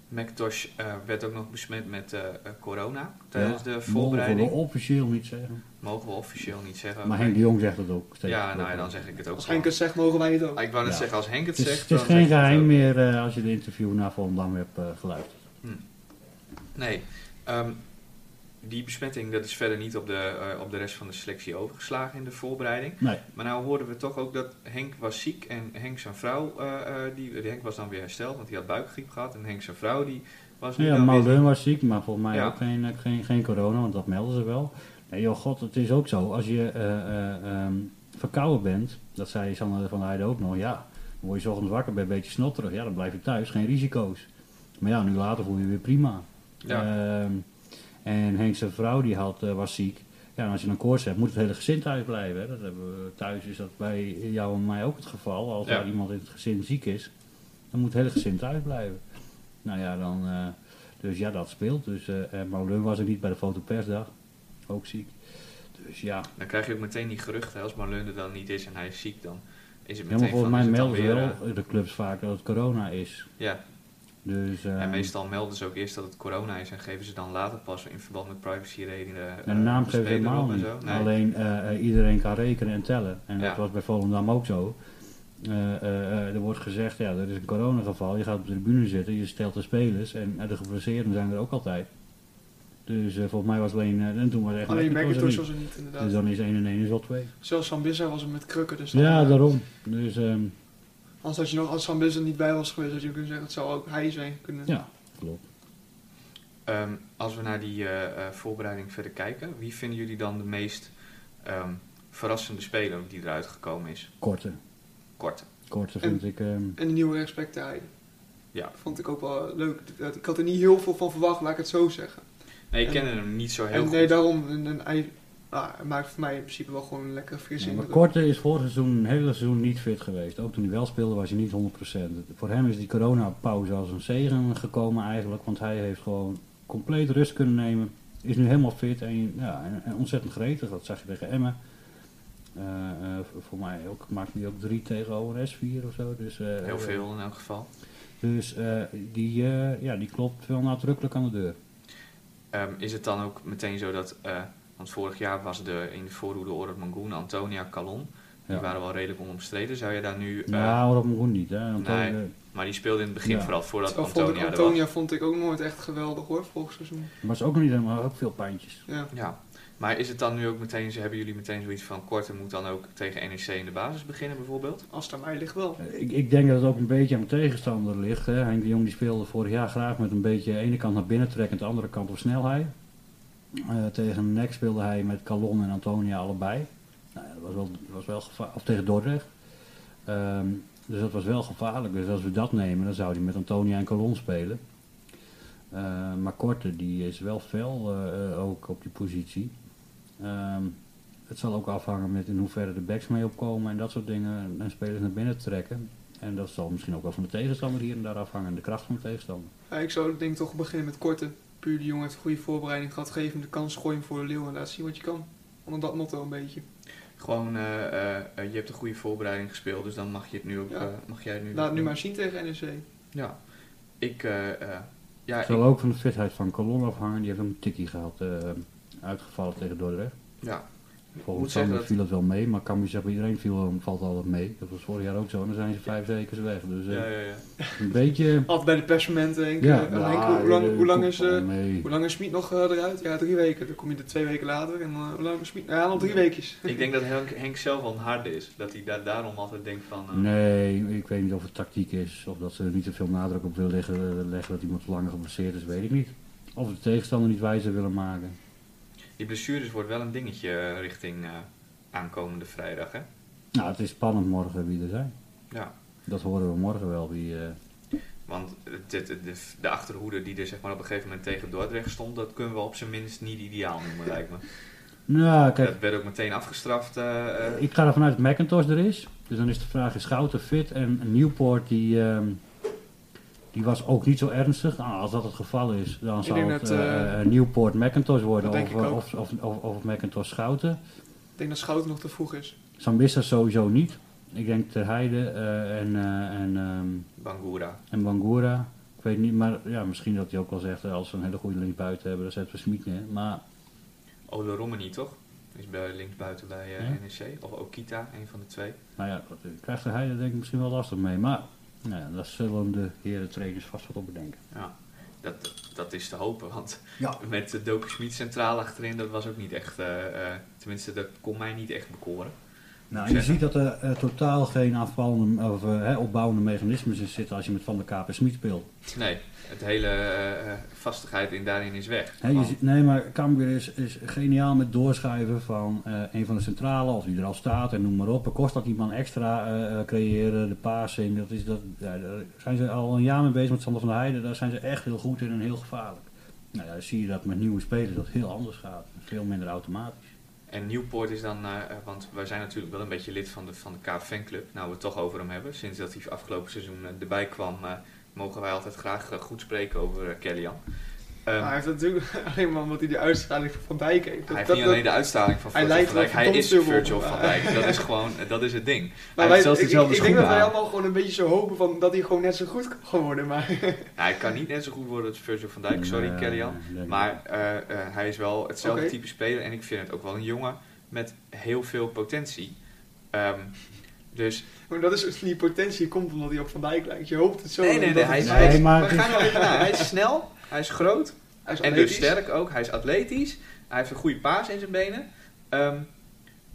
S2: McIntosh eh, werd ook nog besmet met eh, eh, corona
S3: Ja,
S2: tijdens de voorbereiding.
S3: Mogen we officieel niet zeggen.
S2: Mogen we officieel niet zeggen.
S3: Maar Henk de Jong zegt dat ook. steeds.
S2: ja, nou ja, dan zeg ik het ook.
S4: Als
S2: gewoon.
S4: Henk het zegt, mogen wij het ook.
S2: Ah, Ik wou net
S3: Ja.
S2: zeggen, als Henk het,
S3: Het is,
S2: zegt.
S3: het is
S2: dan
S3: geen
S2: zeg ik het
S3: geheim
S2: ook.
S3: meer eh, als je de interview na Volendam hebt eh, geluisterd.
S2: Nee. ehm, die besmetting dat is verder niet op de, eh, op de rest van de selectie overgeslagen in de voorbereiding.
S3: Nee.
S2: Maar nou hoorden we toch ook dat Henk was ziek en Henk zijn vrouw, eh, eh, die, Henk was dan weer hersteld, want die had buikgriep gehad. En Henk zijn vrouw, die was nu
S3: Ja,
S2: dan weer...
S3: Maudun was ziek, maar volgens mij
S2: Ja.
S3: ook geen, eh, geen, geen corona, want dat melden ze wel. Nee joh, god, het is ook zo. Als je eh, eh, ehm, verkouden bent, dat zei Sander van der Heijden ook nog, ja, dan word je 's ochtends wakker, ben je een beetje snotterig. Ja, dan blijf je thuis, geen risico's. Maar ja, nu later voel je je weer prima.
S2: Ja.
S3: Ehm, en Henk zijn vrouw die had, eh, was ziek. Ja, en als je een koorts hebt, moet het hele gezin thuis blijven. Hè? Dat hebben we, thuis is dat bij jou en mij ook het geval. Als
S2: Ja.
S3: daar iemand in het gezin ziek is, dan moet het hele gezin thuis blijven. Nou ja, dan, eh, dus ja, dat speelt. Dus, eh, en Mauleur was ook niet bij de fotopersdag. Ook ziek. Dus ja,
S2: Dan krijg je ook meteen die geruchten, hè, als Marlon er dan niet is en hij is ziek, dan is het
S3: ja
S2: meteen
S3: maar volgens
S2: van,
S3: mij
S2: is het eh, dan
S3: melden ze
S2: weer,
S3: wel de clubs vaak dat het corona is.
S2: eh, ja,
S3: Dus, eh,
S2: en meestal melden ze ook eerst dat het corona is en geven ze dan later pas in verband met privacyredenen... eh,
S3: En de naam
S2: de
S3: geeft
S2: speler
S3: helemaal
S2: op en
S3: niet.
S2: zo. Nee.
S3: Alleen eh, eh, iedereen kan rekenen en tellen. En
S2: Ja.
S3: dat was bij Volendam ook zo. Eh, eh, eh, er wordt gezegd, ja, er is een coronageval. Je gaat op de tribune zitten, je stelt de spelers. En eh, de geblesseerden zijn er ook altijd. Dus eh, volgens mij was alleen... eh, en toen was echt
S4: Alleen
S3: McIntosh er
S4: McIntosh
S3: niet.
S4: was er niet,
S3: Dus
S4: inderdaad.
S3: dan is 1 en 1 is wel 2.
S4: Zelfs Sambissa was er met krukken. Dus dan,
S3: Ja,
S4: eh,
S3: daarom. Dus ehm,
S4: Als, dat je nog, als Sambissa niet bij was geweest, had je kunnen zeggen, het zou ook hij zijn kunnen.
S3: ja, klopt.
S2: Ehm, als we naar die eh, eh, voorbereiding verder kijken, wie vinden jullie dan de meest ehm, verrassende speler die eruit gekomen is?
S3: Korte.
S2: Kort.
S3: Korte vind ik... ehm,
S4: En de nieuwe respect hij.
S2: Ja.
S4: Vond ik ook wel leuk. Ik had er niet heel veel van verwacht, laat ik het zo zeggen.
S2: Nee, ik
S4: En-
S2: ken hem niet zo heel
S4: en
S2: goed.
S4: nee, daarom, een, een, hij ah, hij maakt voor mij in principe wel gewoon een lekker frisse
S3: Nee, maar
S4: indruk.
S3: Korte is vorig seizoen, een hele seizoen niet fit geweest. Ook toen hij wel speelde was hij niet 100%. Voor hem is die coronapauze als een zegen gekomen eigenlijk. Want hij heeft gewoon compleet rust kunnen nemen. Is nu helemaal fit en, ja, en, en ontzettend gretig. Dat zag je tegen Emmen. Eh, eh, voor- voor mij ook, maakte hij ook drie tegen ORS, vier of zo. Dus, eh,
S2: Heel veel in elk geval.
S3: Dus eh, die, eh, ja, die klopt wel nadrukkelijk aan de deur.
S2: Ehm, is het dan ook meteen zo dat, eh, want vorig jaar was de in de voorhoede Orad Mangoen, Antonia Calon, die
S3: Ja.
S2: waren wel redelijk onomstreden. Zou je daar nu, eh,
S3: Nou, Rob Moen niet. Hè? Want
S2: Nee.
S3: hij, eh,
S2: maar die speelde in het begin
S3: Ja.
S2: vooral voordat
S4: Terwijl vond ik
S2: Antonia,
S4: Antonia vond ik ook nooit echt geweldig hoor, volgens seizoen.
S3: was ook nog niet helemaal, ook veel pijntjes.
S4: Ja.
S2: er was. Ja. Maar is het dan nu ook meteen, hebben jullie meteen zoiets van Korte moet dan ook tegen NEC in de basis beginnen bijvoorbeeld?
S4: Als het aan mij ligt wel.
S3: Ik, ik denk dat het ook een beetje aan de tegenstander ligt. Hè. Henk de Jong die speelde vorig jaar graag met een beetje de ene kant naar binnen trekken, de andere kant op snelheid. Eh, tegen NEC speelde hij met Calon en Antonia allebei. Nou, ja, dat was wel, was wel gevaarlijk. Of tegen Dordrecht. Ehm, dus dat was wel gevaarlijk. Dus als we dat nemen, dan zou hij met Antonia en Calon spelen. Eh, maar Korte, die is wel fel eh, eh, ook op die positie. Ehm, het zal ook afhangen met in hoeverre de backs mee opkomen en dat soort dingen. En spelers naar binnen trekken. En dat zal misschien ook wel van de tegenstander hier en daar afhangen. En de kracht van de tegenstander.
S4: Ja, ik zou denk ik toch beginnen met korte. Puur de jongen heeft een goede voorbereiding gehad. Geef hem de kans, gooi hem voor de leeuw en laat zien wat je kan. Onder dat motto een beetje.
S2: Gewoon, eh, eh, eh, je hebt een goede voorbereiding gespeeld, dus dan mag je het nu ook,
S4: Ja.
S2: eh, mag jij het nu
S4: Laat het nu
S2: doen.
S4: maar zien tegen E NEC.
S2: Ja, ik, eh, eh, ja,
S3: Het
S2: ik,
S3: zal ook van de fitheid van Colon afhangen. Die heeft een tikkie gehad. eh, uitgevallen tegen Dordrecht.
S2: ja. Ik moet
S3: Volgens
S2: zeggen
S3: Sander
S2: dat
S3: viel dat wel mee. Maar kan je zeggen, iedereen viel, hem- valt altijd mee. Dat was vorig jaar ook zo. En dan zijn ze vijf weken weg. Dus eh,
S2: Ja, ja, ja.
S3: een beetje...
S4: Altijd bij de persmomenten denk ik.
S3: Ja,
S4: Eh,
S3: ja,
S4: Henk, hoe- hoe, lang,
S3: eh,
S4: hoe, lang
S3: komt
S4: is,
S3: wel
S4: eh,
S3: mee.
S4: hoe lang is Smit nog eh, eruit? Ja, drie weken. Dan kom je er twee weken later. En eh, hoe lang is Smit? Ja, nog drie weekjes.
S2: Ik denk dat Henk, Henk zelf wel een harde is. Dat hij daar, daarom altijd denkt van... eh,
S3: Nee, ik weet niet of het tactiek is. Of dat ze er niet te veel nadruk op willen leggen, leggen dat iemand langer geblesseerd is, weet ik niet. Of de tegenstander niet wijzer willen maken.
S2: Die blessures wordt wel een dingetje eh, richting eh, aankomende vrijdag, hè?
S3: Nou, het is spannend morgen wie er zijn.
S2: Ja.
S3: Dat horen we morgen wel. Wie, eh,
S2: Want het- het- de, de achterhoede die er zeg maar, op een gegeven moment tegen Dordrecht stond... dat kunnen we op zijn minst niet ideaal noemen, lijkt me.
S3: Nou, kijk,
S2: Dat werd ook meteen afgestraft. eh, eh.
S3: ik ga ervan uit dat Macintosh er is. Dus dan is de vraag, is Schouten fit? En Newport, die, ehm, die was ook niet zo ernstig. Nou, als dat het geval is, dan zou
S4: denk
S3: het
S4: dat,
S3: eh,
S4: eh,
S3: Newport Macintosh worden.
S4: dat denk
S3: Of, eh,
S4: ik ook.
S3: of, of, of, of Macintosh Schouten.
S4: Ik denk dat Schouten nog te vroeg is.
S3: Sambista sowieso niet. Ik denk Ter Heide eh, en, eh en, ehm,
S2: Bangura.
S3: en Bangura. Ik weet niet, maar ja, misschien dat hij ook wel zegt, eh, als we een hele goede linksbuiten hebben, dan zetten we Smit neer. Maar
S2: Ole Oh, Romani, toch? Is bij linksbuiten bij eh,
S3: Ja.
S2: NEC. Of Okita, een van de twee.
S3: nou ja, dat- eh, krijgt hij er denk ik misschien wel lastig mee. Maar nou ja, daar zullen de heren trainers vast wat op bedenken.
S2: Ja, dat, dat is te hopen. Want
S3: Ja.
S2: met de Doku Smit centraal achterin, dat was ook niet echt... eh, eh, tenminste, dat kon mij niet echt bekoren.
S3: Nou, je ziet dat er eh, totaal geen aanvallende, of, eh, hè, opbouwende mechanismes in zitten als je met Van der Kaap en Smit speelt.
S2: Nee, het hele eh, eh, vastigheid in daarin is weg.
S3: Hè, je
S2: Want-
S3: ziet- nee, maar Cambuur is, is geniaal met doorschuiven van eh, een van de centralen, of die er al staat en noem maar op. Kost dat iemand extra eh, eh, creëren, de passing, dat is dat, ja, daar zijn ze al een jaar mee bezig met Sander van der Heijden. Daar zijn ze echt heel goed in en heel gevaarlijk. Nou ja, dan zie je dat met nieuwe spelers dat heel anders gaat. Veel minder automatisch.
S2: En Newport is dan, eh, eh, want wij zijn natuurlijk wel een beetje lid van de, van de KF Fanclub. Nou, we het toch over hem hebben. Sinds dat hij afgelopen seizoen eh, erbij kwam, eh, mogen wij altijd graag eh, goed spreken over eh, Kellyan. Ehm,
S4: Maar
S3: Ah,
S4: hij heeft natuurlijk alleen maar omdat hij die uitstraling van Van Dijk heeft.
S2: hij heeft niet alleen de uitstraling van
S4: hij
S2: Virgil
S4: lijkt
S2: van Dijk,
S4: wel
S2: hij is
S4: verdomd dubbel.
S2: Virgil van Dijk. Dat is gewoon, eh, dat is het ding.
S4: Maar
S2: heeft
S4: wij-
S2: zelfs
S4: ik-
S2: dezelfde
S4: ik, ik denk dat
S2: schoenen aan.
S4: wij allemaal gewoon een beetje zo hopen van dat hij gewoon net zo goed kan worden. Maar
S2: Nou, hij kan niet net zo goed worden als Virgil van Dijk, sorry
S3: En, eh,
S2: Kellyan.
S3: denk ik.
S2: Maar eh, eh, hij is wel hetzelfde
S4: Oké.
S2: type speler. En ik vind het ook wel een jongen met heel veel potentie. Ehm, dus
S4: Maar dat is dus die potentie komt omdat hij op Van Dijk lijkt. Je hoopt het zo.
S2: Nee, nee, nee,
S4: omdat
S2: hij is,
S3: Nee,
S2: hij is-
S3: maar
S2: we
S3: het is-
S2: gaan er even naar. Hij is snel, hij is groot
S4: hij is
S2: en dus
S4: atletisch.
S2: sterk ook. Hij is atletisch, hij heeft een goede paas in zijn benen. Ehm,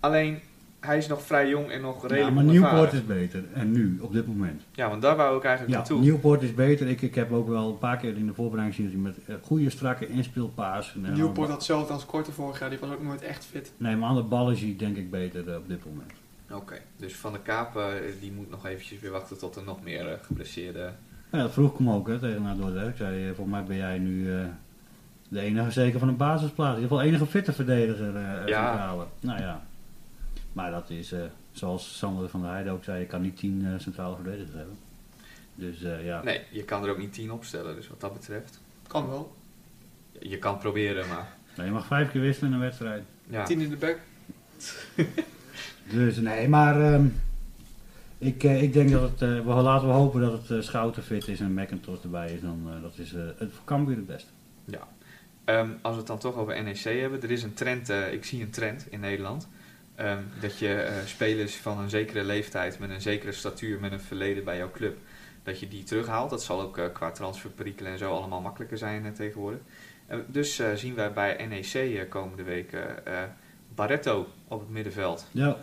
S2: alleen, hij is nog vrij jong en nog redelijk
S3: Ja,
S2: ja,
S3: maar Newport is beter. En nu, op dit moment.
S2: Ja, want daar wou ik eigenlijk
S3: Ja,
S2: naartoe.
S3: Newport is beter. Ik, ik heb ook wel een paar keer in de voorbereiding gezien dat hij met eh, goede, strakke inspeelpaas. en, eh,
S4: Newport had hetzelfde als Korte vorig jaar. Die was ook nooit echt fit.
S3: Nee, maar aan de ballen zie ik denk ik beter eh, op dit moment.
S2: Oké, dus Van de Kaap eh, die moet nog eventjes weer wachten tot er nog meer eh, geblesseerde...
S3: Ja, dat vroeg ik hem ook hè, tegen naar Dordrecht. Ik zei, eh, volgens mij ben jij nu eh, de enige zeker van een basisplaats. In ieder geval de enige fitte verdediger eh
S2: Ja.
S3: centrale. Nou ja. Maar dat is, eh, zoals Sander van der Heijden ook zei, je kan niet tien eh, centrale verdedigers hebben. Dus eh, ja.
S2: Nee, je kan er ook niet tien opstellen, dus wat dat betreft.
S4: Kan wel.
S2: Je kan proberen, maar...
S3: Nou, je mag vijf keer wisselen in een wedstrijd.
S2: Ja.
S4: Tien in de back.
S3: Dus nee, maar ehm, ik, eh, ik denk dat het, eh, we, laten we hopen dat het eh, Schouten fit is en McIntosh erbij is. Dan, eh, dat is eh het voor Cambuur het beste.
S2: Ehm, als we het dan toch over NEC hebben, er is een trend, eh, ik zie een trend in Nederland. ehm, dat je eh, spelers van een zekere leeftijd, met een zekere statuur, met een verleden bij jouw club, dat je die terughaalt. Dat zal ook eh, qua transferperikelen en zo allemaal makkelijker zijn eh, tegenwoordig. Eh, dus eh, zien wij bij NEC eh, komende week eh, eh, Barretto op het middenveld.
S3: Ja,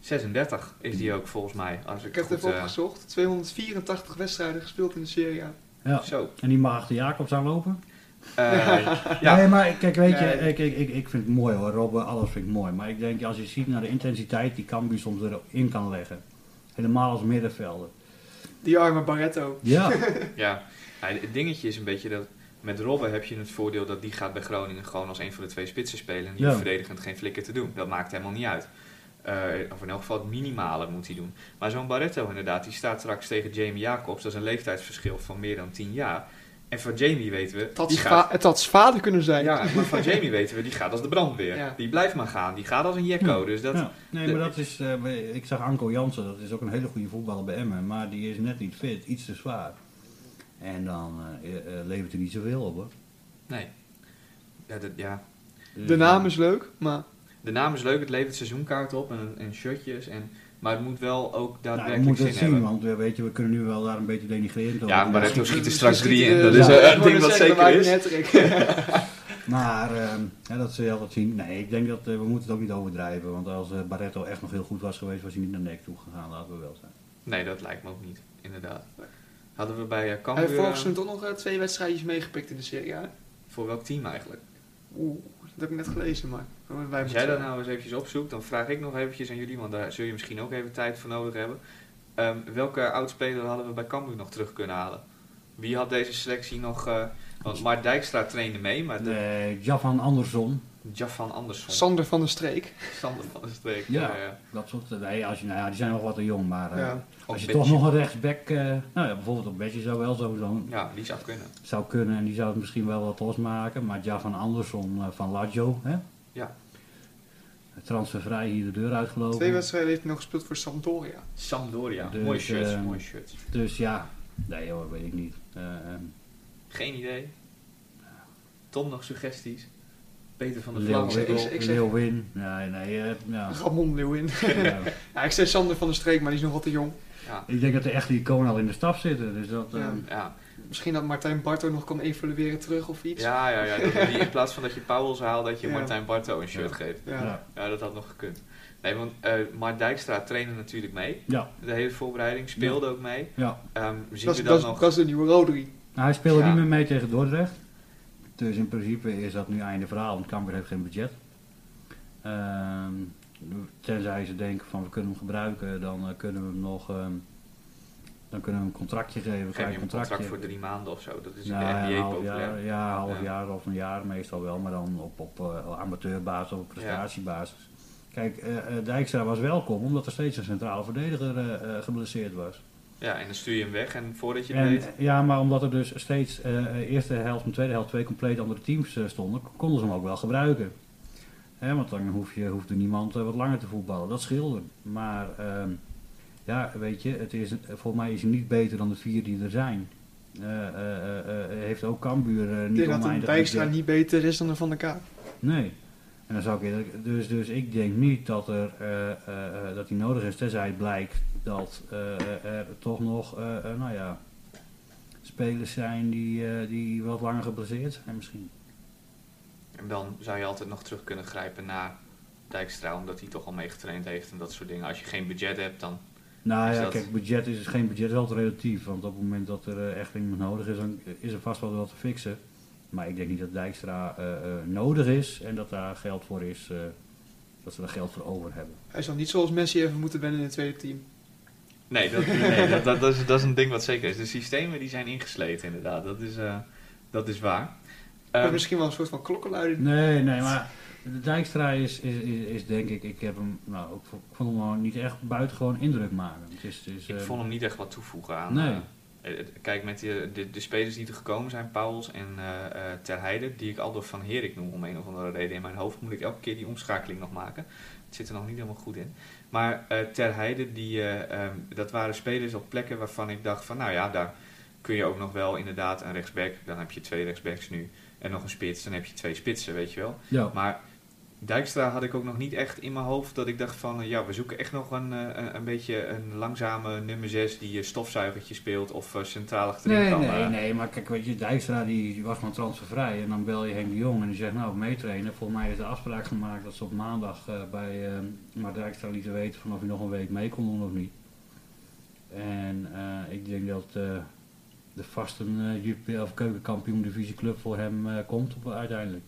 S2: 36 is die ook volgens mij. Als ik,
S4: Ik heb het
S2: goed,
S4: even
S2: eh,
S4: opgezocht. 284 wedstrijden gespeeld in de Serie A.
S3: ja.
S2: Zo.
S3: En die mag achter Jacobs aanlopen?
S2: Eh, ja,
S3: Nee, maar kijk, weet je,
S4: Nee.
S3: ik, ik, ik, ik vind het mooi hoor, Robben, alles vind ik mooi. Maar ik denk, als je ziet naar de intensiteit die Cambuur soms erin kan leggen. Helemaal als middenvelder.
S4: Die arme Barretto.
S3: Ja,
S2: Ja, Ja, het dingetje is een beetje dat met Robben heb je het voordeel dat die gaat bij Groningen gewoon als een van de twee spitsen spelen. En die
S3: Ja.
S2: hoeft verdedigend geen flikker te doen. Dat maakt helemaal niet uit. Eh, of in elk geval het minimale moet hij doen. Maar zo'n Barretto inderdaad, die staat straks tegen Jamie Jacobs. Dat is een leeftijdsverschil van meer dan 10 jaar. En van Jamie weten we,
S4: Het
S2: die
S4: had,
S2: gaat...
S4: va- het had vader kunnen zijn.
S2: Ja, maar van Jamie weten we, die gaat als de brandweer.
S4: Ja.
S2: Die blijft maar gaan. Die gaat als een jekko. Dus dat...
S3: ja. Nee, maar dat is, eh, ik zag Anko Jansen, dat is ook een hele goede voetballer bij Emmen. Maar die is net niet fit, iets te zwaar. En dan eh, eh, eh, levert hij niet zoveel op hoor.
S2: Nee. Ja, dat, ja,
S3: Dus,
S4: De naam
S3: eh,
S4: is leuk, maar
S2: De naam is leuk, het levert seizoenkaarten op en, en shirtjes. En, maar het moet wel ook
S3: Nou,
S2: daadwerkelijk
S3: ik moet
S2: zin
S3: dat zien,
S2: hebben.
S3: want eh, weet je, we kunnen nu wel daar een beetje denigrerend over
S2: Ja,
S3: doen.
S2: maar Barretto
S4: Misschien-
S2: schiet er straks
S4: misschien
S2: drie in.
S4: schiet,
S2: Dat
S4: eh,
S2: is, eh,
S4: ja,
S2: een
S4: ik
S2: ding
S4: wou
S2: wat
S4: net zeggen,
S2: zeker
S4: we maken een hat-trick.
S3: Maar ehm, hè, dat zul je altijd zien. Nee, ik denk dat eh, we moeten het ook niet overdrijven. Want als eh, Barretto echt nog heel goed was geweest, was hij niet naar Nek toe gegaan. Laten we wel zijn.
S2: Nee, dat lijkt me ook niet, inderdaad. Hadden we bij eh,
S4: Hij heeft
S2: Cambuur...
S4: vorig
S2: eh,
S4: seizoen toch nog eh, twee wedstrijdjes meegepikt in de Serie A.
S2: voor welk team eigenlijk?
S4: Oeh, dat heb ik net gelezen, maar. Wij
S2: Als
S4: moeten-
S2: jij dat nou eens eventjes opzoekt, dan vraag ik nog eventjes aan jullie, want daar zul je misschien ook even tijd voor nodig hebben. Ehm, welke oudspeler hadden we bij Cambuur nog terug kunnen halen? Wie had deze selectie nog... eh, want Mart Dijkstra trainde mee, maar de,
S3: Nee, Eh, Javan Andersson.
S2: Jafan Andersson,
S4: Sander van der Streek.
S2: Sander van de Streek.
S3: Ja.
S2: eh,
S3: Dat soort. Nee, als je, nou ja, die zijn nog wat te jong. Maar eh,
S4: Ja.
S2: ook
S3: als je
S2: Betje.
S3: toch nog een rechtsback. eh, nou ja, bijvoorbeeld op Bessie zou wel sowieso
S2: Ja, die zou kunnen.
S3: zou kunnen. En die zou het misschien wel wat losmaken. Maar Javan Andersson eh, van Lazio. Hè?
S2: Ja.
S3: Transfervrij hier de deur uitgelopen.
S4: Twee wedstrijden heeft hij nog gespeeld voor Sampdoria.
S2: Sampdoria,
S3: Dus,
S2: mooi shirt,
S3: ehm,
S2: mooi shirt.
S3: Dus ja, Nee hoor, weet ik niet. Eh, ehm,
S2: Geen idee. Tom, nog suggesties? Peter van der
S3: Leeuw-
S2: Vlam.
S4: Vlaamse- ik- ik zeg-
S3: Leeuwin. Nee, nee. eh, ja.
S4: Ramon Leeuwin.
S3: Ja.
S4: ja, ik zei Sander van der Streek, maar die is nog wat te jong.
S3: Ik denk dat de echte iconen al in de staf zitten. Dus dat, eh,
S4: Ja.
S2: Ja,
S4: Misschien dat Martijn Barto nog kan evalueren terug of iets.
S2: ja, ja. ja. Dat- die, in plaats van dat je Pauwels haalt, dat je
S4: Ja.
S2: Martijn Barto een shirt
S3: Ja.
S2: geeft.
S4: Ja.
S3: ja.
S2: Ja, dat had nog gekund. Nee, want eh Mark Dijkstra trainde natuurlijk mee.
S3: Ja.
S2: De hele voorbereiding speelde ook mee.
S3: ja.
S2: Ehm, zien
S4: Dat,
S2: we dan
S4: is, dat, is-
S2: nog...
S4: dat is de nieuwe Rodri.
S3: Nou, hij speelde
S2: Ja.
S3: niet meer mee tegen Dordrecht. Dus in principe is dat nu einde verhaal, want Cambuur heeft geen budget. Ehm, tenzij ze denken van we kunnen hem gebruiken, dan eh, kunnen we hem nog... ehm, dan kunnen we hem een contractje geven.
S2: Geef
S3: klein
S2: je een contract voor drie maanden of zo. Dat is in
S3: Nou,
S2: de
S3: een
S2: NBA
S3: half
S2: populair.
S3: jaar, ja, een half
S2: Ja.
S3: jaar of een jaar meestal wel, maar dan op, op eh, amateurbasis of op prestatiebasis. Kijk, eh, eh, Dijkstra was welkom omdat er steeds een centrale verdediger eh, eh, geblesseerd was.
S2: Ja, en dan stuur je hem weg. En voordat je het
S3: En,
S2: weet...
S3: eh, ja, maar omdat er dus steeds eh, eh, eerste helft en tweede helft twee compleet andere teams eh, stonden, k- konden ze hem ook wel gebruiken. Hè, want dan hoef je, hoeft er niemand eh, wat langer te voetballen. Dat scheelde. Maar ehm, ja, weet je, het is, eh, volgens mij is hij niet beter dan de vier die er zijn. Eh, eh, eh, eh, heeft ook Cambuur eh,
S4: Ik
S3: niet
S4: denk dat een
S3: oneindig
S4: Dijkstra
S3: budget.
S4: niet beter is dan een Van der Kaap.
S3: Nee. En dan zou ik eerlijk- dus, dus ik denk niet dat, er, eh, eh, eh, dat die nodig is, tenzij het blijkt dat eh, er toch nog eh, eh, nou ja, spelers zijn die, eh, die wat langer geblesseerd zijn misschien.
S2: En dan zou je altijd nog terug kunnen grijpen naar Dijkstra. Omdat hij toch al meegetraind heeft en dat soort dingen. Als je geen budget hebt, dan...
S3: Nou
S2: Is
S3: ja,
S2: dat-
S3: kijk, budget is geen budget, is altijd relatief. Want op het moment dat er eh, echt iemand nodig is, dan is er vast wel wat te fixen. Maar ik denk niet dat Dijkstra eh, eh, nodig is en dat daar geld voor is, eh, dat ze daar geld voor over hebben.
S4: Hij zal niet zoals Messi even moeten wennen in het tweede team.
S2: Nee, dat, nee dat, dat, dat, is, dat is een ding wat zeker is. De systemen die zijn ingesleten inderdaad. Dat is, eh, dat is waar.
S4: Maar
S2: Ehm,
S4: misschien wel een soort van klokkenluider.
S3: Nee, nee, maar de Dijkstra is, is, is, is denk ik, ik heb hem, nou, ik vo- vond hem gewoon niet echt buitengewoon indruk maken. Het is, het is,
S2: Ik
S3: eh,
S2: vond hem niet echt wat toevoegen aan.
S3: Nee.
S2: eh, eh, kijk, met die- de, de spelers die er gekomen zijn, Pauwels en eh, eh, Ter Heide, die ik al door Van Herik noem om een of andere reden in mijn hoofd, moet ik elke keer die omschakeling nog maken. Het zit er nog niet helemaal goed in. Maar eh, Ter Heide, die, eh, ehm, dat waren spelers op plekken waarvan ik dacht van, nou ja, daar kun je ook nog wel inderdaad een rechtsback, dan heb je twee rechtsbacks nu, en nog een spits, dan heb je twee spitsen, weet je wel.
S3: ja,
S2: Maar Dijkstra had ik ook nog niet echt in mijn hoofd dat ik dacht van... eh, ja, we zoeken echt nog een, eh, een, een beetje een langzame nummer 6 die eh, stofzuigertje speelt of eh, centrale achterin
S3: nee,
S2: kan.
S3: nee,
S2: eh,
S3: nee, maar kijk, weet je, Dijkstra die was gewoon transfervrij. En dan bel je Henk de Jong en die zegt, nou, meetrainen. Volgens mij is de afspraak gemaakt dat ze op maandag eh, bij eh, maar Dijkstra lieten weten van of hij nog een week mee kon doen of niet. En eh, ik denk dat eh, de vaste eh, JP of keukenkampioen divisieclub voor hem eh, komt op, uiteindelijk.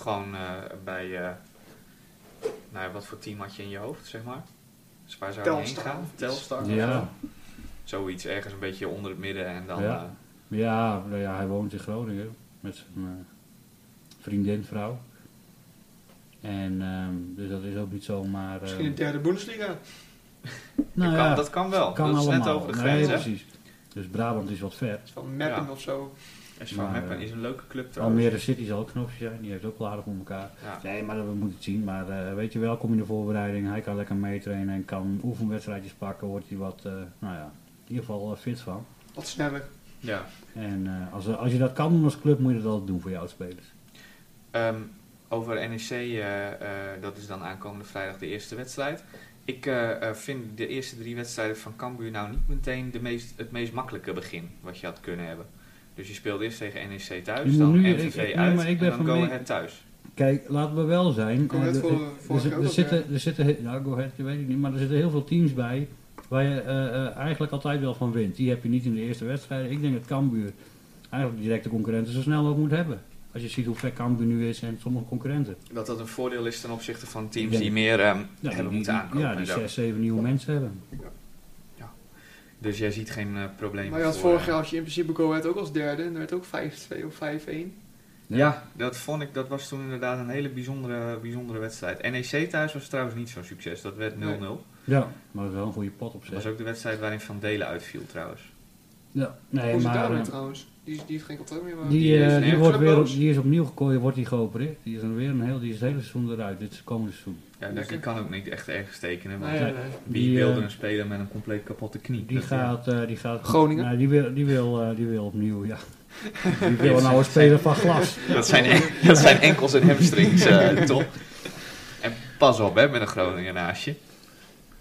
S2: Gewoon eh, bij... eh, nou, ja, wat voor team had je in je hoofd, zeg maar? Dus waar zou je heen
S4: Telstar of
S2: gaan?
S4: iets.
S2: Telstar? of zo?
S3: Ja,
S2: Zoiets, ergens een beetje onder het midden en dan...
S3: Ja.
S2: eh,
S3: Ja, nou ja, hij woont in Groningen met zijn eh, vriendin, vrouw. En ehm, dus dat is ook niet zomaar. eh,
S4: Misschien de derde Bundesliga.
S3: nou
S2: dat, kan,
S3: ja,
S2: dat kan wel.
S3: kan
S2: dat is net
S3: allemaal.
S2: over de
S3: Nee,
S2: grens, hè?
S3: precies. Dus Brabant is wat ver.
S4: Van Meppen
S2: Ja.
S4: of zo.
S2: En Svan
S3: Maar,
S2: Meppen
S3: eh,
S2: is een leuke club trouwens.
S3: Almere City zal ook een optie zijn, die heeft ook wel aardig om elkaar.
S2: Ja.
S3: Nee, maar dat we moeten het zien. Maar eh, weet je wel, kom je in de voorbereiding, hij kan lekker meetrainen en kan oefenwedstrijdjes pakken, wordt hij wat, eh, nou ja, in ieder geval eh, fit van.
S4: Wat sneller.
S2: ja.
S3: En eh, als, als je dat kan doen als club, moet je dat altijd doen voor jouw spelers.
S2: Ehm, over NEC, eh, eh, dat is dan aankomende vrijdag de eerste wedstrijd. Ik eh, eh, vind de eerste drie wedstrijden van Cambuur nou niet meteen de meest, het meest makkelijke begin wat je had kunnen hebben. Dus je speelt eerst tegen NEC thuis,
S3: Je moet
S2: dan
S3: nu-
S2: MVV
S3: ik- ik- nee,
S2: uit
S3: maar ik ben
S2: en dan
S3: van
S2: Go
S3: mening-
S2: Ahead thuis.
S3: Kijk, laten we wel zijn.
S4: Go Ahead
S3: eh,
S4: voor-
S3: er-
S4: vorige
S3: er,
S4: keer
S3: er,
S4: ook al,
S3: zitten, er zitten, he- ja, go ahead, dat weet ik niet, maar er zitten heel veel teams bij waar je eh, eh, eigenlijk altijd wel van wint. Die heb je niet in de eerste wedstrijd. Ik denk dat Cambuur eigenlijk directe concurrenten zo snel ook moet hebben. Als je ziet hoe ver Cambuur nu is en sommige concurrenten.
S2: Dat dat een voordeel is ten opzichte van teams
S3: Ik denk-
S2: die meer ehm,
S3: Ja,
S2: hebben
S3: die,
S2: moeten
S3: die-
S2: aankomen.
S3: Ja, die
S2: en zo.
S3: zes, zeven nieuwe mensen hebben.
S2: Dus jij ziet geen eh, probleem
S4: Maar je had
S2: voor,
S4: vorig
S2: eh,
S4: jaar als je in principe Go Ahead ook als derde. En dat werd ook 5-2 of 5-1.
S2: Ja, dat vond ik, dat was toen inderdaad een hele bijzondere, bijzondere wedstrijd. NEC thuis was trouwens niet zo'n succes, dat werd 0-0.
S4: Nee.
S3: Ja, maar dat is wel een goede pot op
S2: Dat was
S3: zich.
S2: ook de wedstrijd waarin Van Delen uitviel trouwens.
S3: Ja, nee,
S4: Hoe is het
S3: maar,
S4: daarmee
S3: eh,
S4: trouwens? Die, die heeft geen contract meer. maar
S3: Die, eh,
S4: is
S3: die,
S4: erg
S3: wordt weer,
S4: clubloos.
S3: die is opnieuw gekooid, wordt die geopereerd. Die is dan weer een heel, die is het hele seizoen eruit. Dit is het komende seizoen.
S5: Ja, dat kan ook niet echt ergens tekenen. Want
S4: Nee, nee, nee.
S5: wie
S3: eh, Die,
S5: wilde
S3: eh,
S5: een speler met een compleet kapotte knie?
S3: Die
S5: Dat-
S3: gaat, eh, die gaat...
S4: Groningen?
S3: Nee, die wil, die wil, eh, die wil opnieuw, ja. Die wil nou een speler van glas.
S2: Dat zijn, en- dat zijn enkels en hamstrings, eh, top. En pas op, hè, met een Groninger naast je.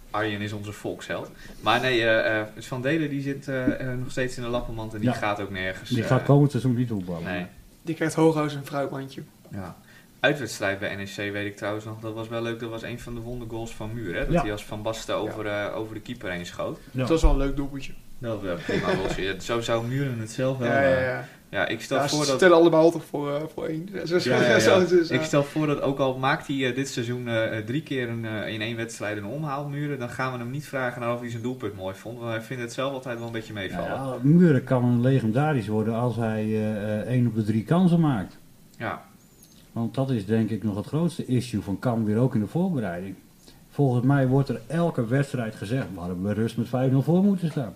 S2: Arjen is onze volksheld. Maar nee, eh, eh, dus Van Delen die zit eh, eh, nog steeds in de lappenmand en die
S3: Ja.
S2: gaat ook nergens.
S3: Die
S2: eh,
S3: gaat komend seizoen niet voetballen.
S2: Nee.
S4: Die krijgt hooghuis een fruitmandje.
S5: Ja.
S2: Uitwedstrijd bij NEC weet ik trouwens nog, dat was wel leuk. Dat was een van de wondergoals van Muur, hè. Dat
S3: Ja.
S2: hij als Van Basten over, eh, over de keeper heen schoot.
S3: Ja.
S4: Dat is wel een leuk doelpuntje.
S2: Dat was prima.
S5: Prima goalsje. Ja, Zo zou Muren het zelf wel...
S4: ja, ja,
S5: eh,
S4: ja.
S5: ja, ik stel
S4: Ja,
S5: voor
S4: ze
S5: dat...
S4: stellen allemaal toch voor, eh, voor één. Dus, dus-
S5: Ja, ja, ja.
S4: zo, dus, eh,
S5: Ik stel voor dat ook al maakt hij eh, dit seizoen eh, eh, drie keer een, eh, in één wedstrijd een omhaalmuren, dan gaan we hem niet vragen naar of hij zijn doelpunt mooi vond, want hij vindt het zelf altijd wel een beetje meevallen. Ja,
S3: Ja, Muren kan legendarisch worden als hij eh, eh, één op de drie kansen maakt. Want dat is denk ik nog het grootste issue van Cambuur ook in de voorbereiding. Volgens mij wordt er elke wedstrijd gezegd waar we rust met 5-0 voor moeten staan.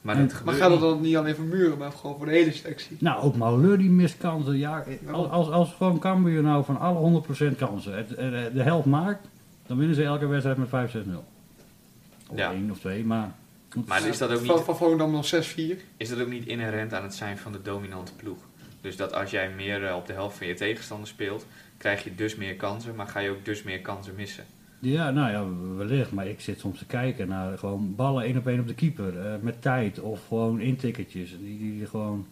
S2: maar
S3: En-
S2: dat
S4: maar
S2: gebeurt
S4: gaat dat
S2: niet.
S4: dan niet alleen voor muren, maar gewoon voor de hele selectie?
S3: Nou, ook Mauleur die mist kansen. Ja, eh, als, als, als gewoon Cambuur nou van alle 100% kansen het, eh, de helft maakt, dan winnen ze elke wedstrijd met 5-6-0. Of
S2: Ja.
S3: één of twee, maar...
S2: Maar is dat ook
S4: Van,
S2: niet,
S4: van Volendam nog 6-4.
S3: Eh,
S2: is dat ook niet inherent aan het zijn van de dominante ploeg? Dus dat als jij meer eh, op de helft van je tegenstander speelt, krijg je dus meer kansen, maar ga je ook dus meer kansen missen.
S3: Ja, nou ja, wellicht. Maar ik zit soms te kijken naar gewoon ballen één op één op de keeper. eh, met tijd of gewoon intikkertjes. Die, die, die gewoon...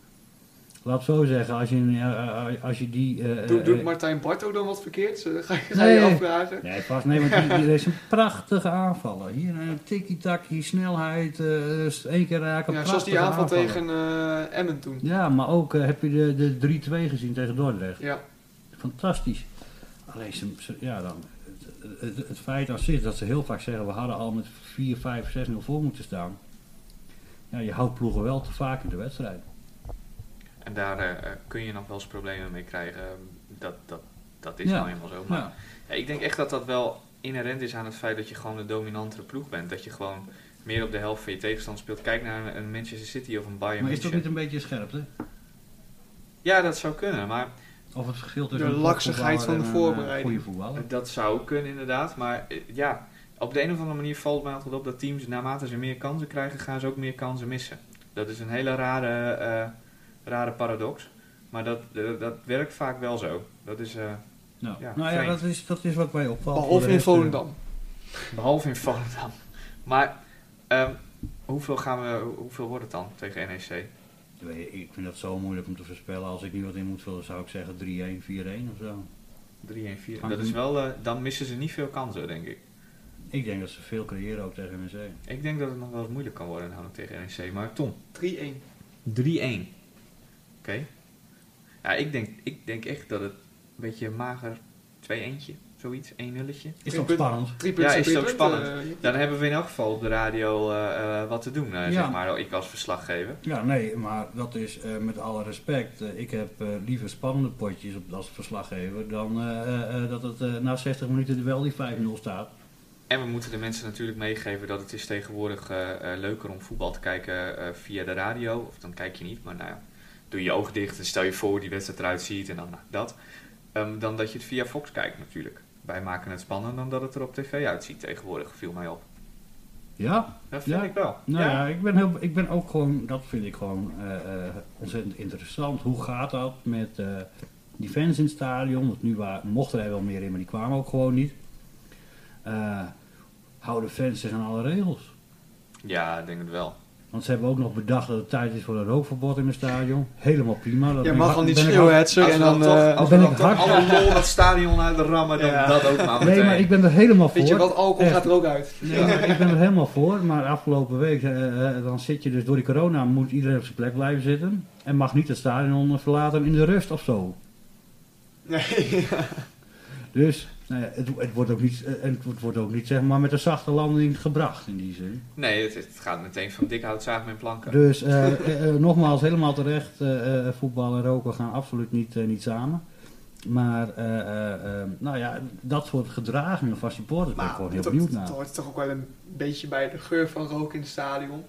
S3: Laat het zo zeggen, als je, eh, eh, als je die... eh,
S4: Doet,
S3: eh,
S4: doet Martijn Barto dan wat verkeerd? Eh, Ga, ga
S3: Nee.
S4: je afvragen?
S3: Nee, pas. Nee, want die, die is een prachtige aanvaller. Hier een tikkie-tak, hier snelheid. eh, s- één keer raken.
S4: Ja, zoals die
S3: prachtige
S4: aanval
S3: aanvaller.
S4: tegen eh, Emmen toen.
S3: Ja, maar ook eh, heb je de, de 3-2 gezien tegen Dordrecht.
S4: Ja,
S3: Fantastisch. Alleen ze, ze- ja, dan, het, het, het feit aan zich dat ze heel vaak zeggen: we hadden al met 4, 5, 6-0 voor moeten staan. Ja, je houdt ploegen wel te vaak in de wedstrijd.
S2: En daar eh, eh, kun je nog wel eens problemen mee krijgen. Ehm, Dat, dat, dat is
S3: Ja.
S2: nou eenmaal zo. Maar
S3: Ja.
S2: Ja, ik denk echt dat dat wel inherent is aan het feit dat je gewoon de dominantere ploeg bent. Dat je gewoon meer op de helft van je tegenstander speelt. Kijk naar een- een Manchester City of een Bayern
S3: Maar is het ook
S2: München.
S3: niet een beetje scherpte?
S2: Ja, dat zou kunnen. Maar
S3: Of het verschil
S4: De
S3: tussen een
S4: laksigheid van de
S3: topvoetballer en een, eh,
S4: voorbereiding.
S3: goede voetballer.
S2: dat zou kunnen inderdaad. Maar eh, ja, op de een of andere manier valt mij altijd op dat teams naarmate ze meer kansen krijgen, gaan ze ook meer kansen missen. Dat is een hele rare, eh, rare paradox. Maar dat, eh, dat werkt vaak wel zo. Dat is, eh,
S3: Nou
S2: Ja,
S3: ja, nou ja
S2: vreemd.
S3: dat, is, dat is wat mij opvalt. Voor
S4: behalve
S3: de
S4: in
S3: rest, eh,
S4: Volendam.
S2: behalve in Volendam. Maar ehm, hoeveel, gaan we, hoeveel wordt het dan tegen E NEC?
S3: weet je, Ik vind dat zo moeilijk om te voorspellen. Als ik nu wat in moet vullen, zou ik zeggen 3-1, 4-1 of zo.
S2: 3 en 4.
S3: Hangt
S2: Dat is
S3: hem-
S2: wel, eh, dan missen ze niet veel kansen, denk ik.
S3: Ik denk dat ze veel creëren ook tegen NEC.
S2: Ik denk dat het nog wel eens moeilijk kan worden namelijk tegen NEC. Maar Tom,
S4: 3-1.
S2: 3-1. Oké. Ja, ik denk, ik denk echt dat het een beetje mager 2-1'tje, zoiets, 1-0'tje.
S3: Is
S4: Ik
S3: toch
S4: ben-
S3: spannend?
S4: Drie punten.
S2: Ja, is
S4: drie
S2: ook
S4: punten,
S2: spannend.
S4: eh,
S2: Dan hebben we in elk geval op de radio eh, eh, wat te doen, eh,
S3: Ja.
S2: zeg maar, ik als verslaggever.
S3: Ja, nee, maar dat is eh, met alle respect. eh, ik heb eh, liever spannende potjes op, als verslaggever dan eh, eh, eh, dat het eh, na 60 minuten er wel die 5-0 staat.
S2: En we moeten de mensen natuurlijk meegeven dat het is tegenwoordig eh, eh, leuker om voetbal te kijken eh, via de radio. Of dan kijk je niet, maar nou ja, doe je oog dicht en stel je voor hoe die wedstrijd eruit ziet en dan nou, dat. Ehm, dan dat je het via Fox kijkt natuurlijk. Wij maken het spannender dan dat het er op tv uitziet tegenwoordig, viel mij op.
S3: Ja,
S2: Dat vind
S3: Ja.
S2: ik wel.
S3: nou ja, ik, ben heel, ik ben ook gewoon, dat vind ik gewoon eh, eh, ontzettend interessant. Hoe gaat dat met eh, die fans in het stadion? Want nu wa- mochten er wel meer in, maar die kwamen ook gewoon niet. Eh, houden fans zich aan alle regels?
S2: Ja, ik denk het wel.
S3: Want ze hebben ook nog bedacht dat het tijd is voor een rookverbod in het stadion. Helemaal prima. dat
S4: Je
S3: ben ik
S4: mag
S3: hard-
S4: al niet
S3: ben ik
S4: schreeuwen,
S3: hard-
S4: Hetzer.
S2: als
S4: En
S2: we dan,
S4: dan...
S2: toch,
S4: eh,
S2: als we
S3: ben
S2: dan
S3: ik
S2: toch
S3: hard-
S2: alle lol dat stadion uit de rammen, dan
S4: Ja.
S2: dat ook maar meteen.
S3: Nee, maar ik ben er helemaal voor.
S4: Weet je wat, alcohol
S3: Echt.
S4: gaat er ook uit.
S3: Nee, maar ik ben er helemaal voor, maar afgelopen week, eh, eh, dan zit je dus door die corona, moet iedereen op zijn plek blijven zitten. En mag niet het stadion verlaten in de rust of zo.
S4: Nee.
S3: Dus nou ja, het, het, wordt ook niet, eh, het wordt ook niet zeg maar, met een zachte landing gebracht in die zin.
S2: Nee, het, het gaat meteen van dik hout zagen en planken.
S3: Dus eh, eh, eh, nogmaals, helemaal terecht, eh, eh, voetbal en roken gaan absoluut niet, eh, niet samen. Maar, eh, eh, eh, nou ja, dat soort gedragingen van supporters ben ik gewoon heel
S4: dat,
S3: benieuwd
S4: dat
S3: naar.
S4: hoort toch ook wel een beetje bij de geur van rook in het stadion.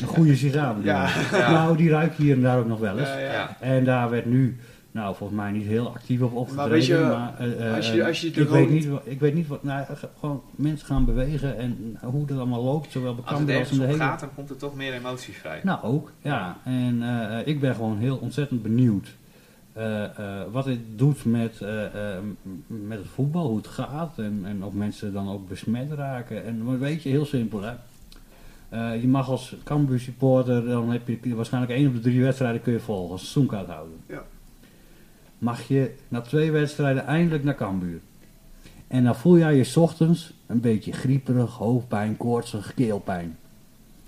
S3: Een goede sigaar bedoel
S4: Ja.
S3: ik.
S2: Ja.
S3: Nou, die ruik je hier en daar ook nog wel eens.
S4: Ja, ja.
S2: Ja.
S3: En daar werd nu, nou volgens mij niet heel actief op opgetreden.
S4: weet je,
S3: maar, eh, eh,
S4: als je- als je de
S3: ik, weet
S4: rode-
S3: niet, wat- ik weet niet wat, nou, ge- gewoon mensen gaan bewegen en hoe dat allemaal loopt, zowel
S2: Als het
S3: bekend als
S2: ergens
S3: in de
S2: om
S3: hele...
S2: gaat, dan komt er toch meer emotie vrij.
S3: Nou, ook, ja. En eh, eh, ik ben gewoon heel ontzettend benieuwd eh, eh, wat het doet met, eh, eh, m- met het voetbal, hoe het gaat en, en of mensen dan ook besmet raken. En maar weet je, heel simpel hè. Eh, je mag als Cambuur supporter, dan heb je waarschijnlijk één op de drie wedstrijden kun je volgen, als seizoenkaart houden.
S4: Ja.
S3: Mag je na twee wedstrijden eindelijk naar Cambuur. En dan voel jij je 's ochtends een beetje grieperig, hoofdpijn, koortsig, keelpijn.